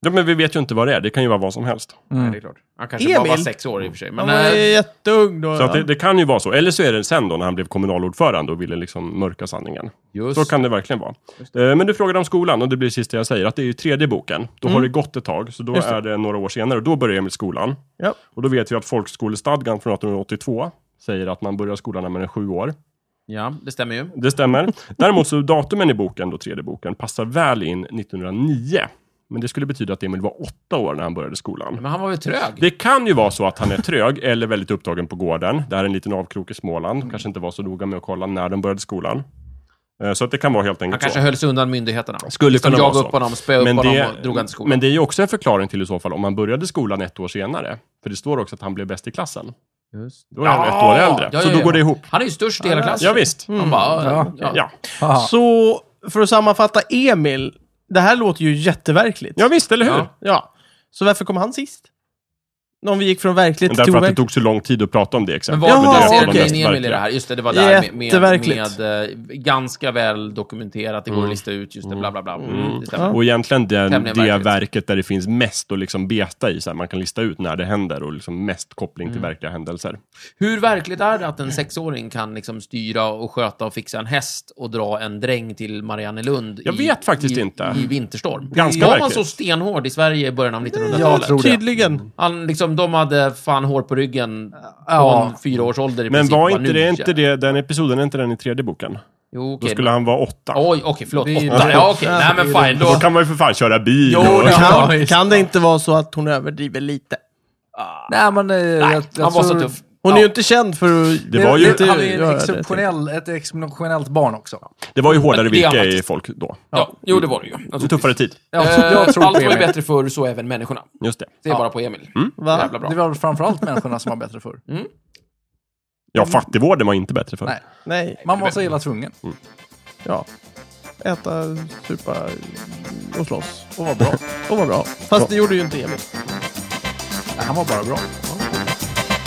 Speaker 3: Ja, men vi vet ju inte vad det är, det kan ju vara vad som helst.
Speaker 2: Nej, det är klart. Han kanske bara var
Speaker 1: Emil?
Speaker 2: sex år i och för sig. Men,
Speaker 1: Han var ju
Speaker 2: eh,
Speaker 1: jätteung då.
Speaker 3: Så att det, det kan ju vara så. Eller så är det sen då när han blev kommunalordförande och ville liksom mörka sanningen.
Speaker 2: just
Speaker 3: Så kan det verkligen vara. Eh, Men du frågade om skolan och det blir det sista jag säger, att det är ju tredje boken. Då har det gått ett tag, så då
Speaker 1: Mm. Just det.
Speaker 3: är det några år senare och då börjar Emil skolan.
Speaker 1: Ja.
Speaker 3: Och då vet vi att folkskolestadgan från 1882 säger att man börjar skolan när man är sju år.
Speaker 2: Ja, det stämmer ju.
Speaker 3: Det stämmer. Däremot så datumen i boken, då tredje boken, passar väl in 1909. Men det skulle betyda att Emil var åtta år när han började skolan.
Speaker 2: Men han var väl trög?
Speaker 3: Det kan ju vara så att han är trög eller väldigt upptagen på gården. Det här är en liten avkrok i Småland.
Speaker 2: Mm.
Speaker 3: Kanske inte var så noga med att kolla när de började skolan. Eh, Så att det kan vara helt
Speaker 2: Han
Speaker 3: enkelt
Speaker 2: kanske
Speaker 3: så.
Speaker 2: höll sig undan myndigheterna.
Speaker 3: Skulle kunna
Speaker 2: De
Speaker 3: vara
Speaker 2: jagade
Speaker 3: så.
Speaker 2: upp honom, spöade upp
Speaker 3: Men
Speaker 2: honom
Speaker 3: det,
Speaker 2: och drog honom till skolan.
Speaker 3: men det är ju också en förklaring till i så fall om han började skolan ett år senare. För det står också att han blev bäst i klassen.
Speaker 2: Just.
Speaker 3: Då är han ett år äldre.
Speaker 2: Ja,
Speaker 3: så
Speaker 2: ja,
Speaker 3: då
Speaker 2: ja. Mm.
Speaker 3: går det ihop.
Speaker 2: Han är ju störst i hela klassen.
Speaker 3: Ja, visst.
Speaker 2: Han bara, ja, ja.
Speaker 3: Ja.
Speaker 4: Aha.
Speaker 1: Så för att sammanfatta Emil, det här låter ju jätteverkligt.
Speaker 3: ja, visst, eller hur?
Speaker 2: Ja.
Speaker 1: Ja. Så varför kom han sist? Om vi gick från verkligt till
Speaker 3: Därför att det
Speaker 1: overkligt.
Speaker 3: tog så lång tid att prata om det
Speaker 2: Men
Speaker 3: exemplet.
Speaker 2: vad
Speaker 1: Jaha,
Speaker 3: det
Speaker 2: placerar
Speaker 3: är de
Speaker 1: okej.
Speaker 2: King
Speaker 3: mest
Speaker 2: Emil i det
Speaker 3: verkliga.
Speaker 2: här? Just det, det var där med, med,
Speaker 1: Jätteverkligt.
Speaker 2: med, eh, ganska väl dokumenterat. Det går
Speaker 3: Mm.
Speaker 2: att lista ut just det, bla bla bla. Mm. det stämmer.
Speaker 3: Och egentligen den,
Speaker 2: Tämligen
Speaker 3: det
Speaker 2: verkligt.
Speaker 3: verket där det finns mest att liksom beta i, så här, man kan lista ut när det händer och liksom mest koppling
Speaker 2: Mm.
Speaker 3: till verkliga händelser.
Speaker 2: Hur verkligt är det att en sexåring kan liksom styra och sköta och fixa en häst och dra en dräng till Mariannelund
Speaker 3: Jag vet faktiskt
Speaker 2: i,
Speaker 3: inte.
Speaker 2: i vinterstorm?
Speaker 3: Ganska
Speaker 2: Var man
Speaker 3: verkligt.
Speaker 2: så stenhård i Sverige i början av 1900-talet?
Speaker 4: tror det.
Speaker 1: Tydligen.
Speaker 2: Han, liksom, de hade fan hår på ryggen
Speaker 4: Ja.
Speaker 2: på en fyra års ålder i
Speaker 3: Men
Speaker 2: princip.
Speaker 3: var
Speaker 2: Vad
Speaker 3: inte,
Speaker 2: nu
Speaker 3: det, inte
Speaker 2: gör.
Speaker 3: det, den episoden, är inte den i tredje boken?
Speaker 2: Jo,
Speaker 3: Då
Speaker 2: okej.
Speaker 3: skulle han vara åtta.
Speaker 2: Oj, okej, förlåt.
Speaker 4: Det är-
Speaker 2: Åtta. Ja, okej. Nej, men fine.
Speaker 3: Då
Speaker 2: Då...
Speaker 3: kan man ju för fan köra bil.
Speaker 2: Jo,
Speaker 3: och...
Speaker 2: det- Ja,
Speaker 1: Kan,
Speaker 2: visst.
Speaker 1: kan det inte vara så att hon överdriver lite?
Speaker 4: Nej, men eh, jag, jag
Speaker 2: Han var så
Speaker 4: tror-
Speaker 2: tuff.
Speaker 1: Hon är ju inte känd för att...
Speaker 3: Det var ju-
Speaker 1: inte
Speaker 4: han är
Speaker 1: göra
Speaker 4: en
Speaker 1: det,
Speaker 4: exceptionell, ett exceptionellt barn också.
Speaker 3: Det var ju hårdare
Speaker 2: Men det är
Speaker 3: virke i
Speaker 2: faktiskt-
Speaker 3: folk då.
Speaker 2: Ja, jo, det var det ju.
Speaker 3: En tuffare tid.
Speaker 4: Jag,
Speaker 2: Eh,
Speaker 4: jag tror på
Speaker 2: Allt var ju
Speaker 4: Emil.
Speaker 2: bättre förr, så även människorna.
Speaker 3: Just det.
Speaker 2: Det är bara på Emil.
Speaker 3: Mm.
Speaker 1: Va?
Speaker 2: Jävla bra.
Speaker 4: Det var framförallt människorna som var bättre förr.
Speaker 3: Ja, fattigvården var inte bättre för.
Speaker 4: Nej.
Speaker 1: Nej,
Speaker 4: Man var så illa tvungen.
Speaker 1: ja. Äta, supa och slåss. Och vara bra. Och vara bra. Fast det gjorde ju inte Emil.
Speaker 4: Nej, han var bara bra.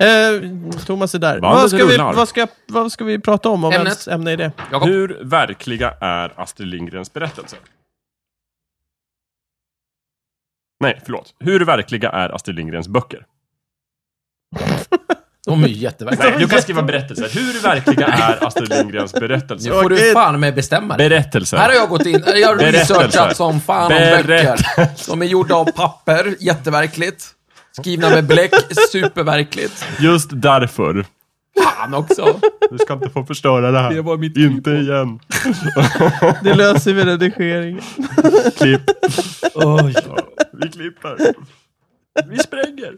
Speaker 1: Eh, Thomas är där.
Speaker 3: Bandet
Speaker 1: Vad ska, vi,
Speaker 3: rullar.
Speaker 1: vad, ska, vad ska vi prata om? Om
Speaker 2: Ämnet?
Speaker 1: ens ämne är det?
Speaker 2: Jakob?
Speaker 3: Hur verkliga är Astrid Lindgrens berättelser? Nej, förlåt. Hur verkliga är Astrid Lindgrens böcker?
Speaker 2: De är ju jätteverkliga.
Speaker 3: Nej, du kan skriva berättelser. Hur verkliga är Astrid Lindgrens berättelser?
Speaker 2: Nu får du
Speaker 1: Okej.
Speaker 2: fan med bestämma dig. Här har
Speaker 3: Berättelser.
Speaker 2: jag gått in, jag har
Speaker 3: Berättelser.
Speaker 2: researchat som fan om böcker.
Speaker 3: Berättelser.
Speaker 2: De är gjorda av papper, jätteverkligt. Skrivna med bläck, superverkligt.
Speaker 3: Just därför.
Speaker 2: Fan också.
Speaker 3: Du ska inte få förstöra det här.
Speaker 2: Det var mitt
Speaker 3: inte igen.
Speaker 1: Det löser vi redigeringen.
Speaker 3: Klipp. Vi klipper. Vi spränger.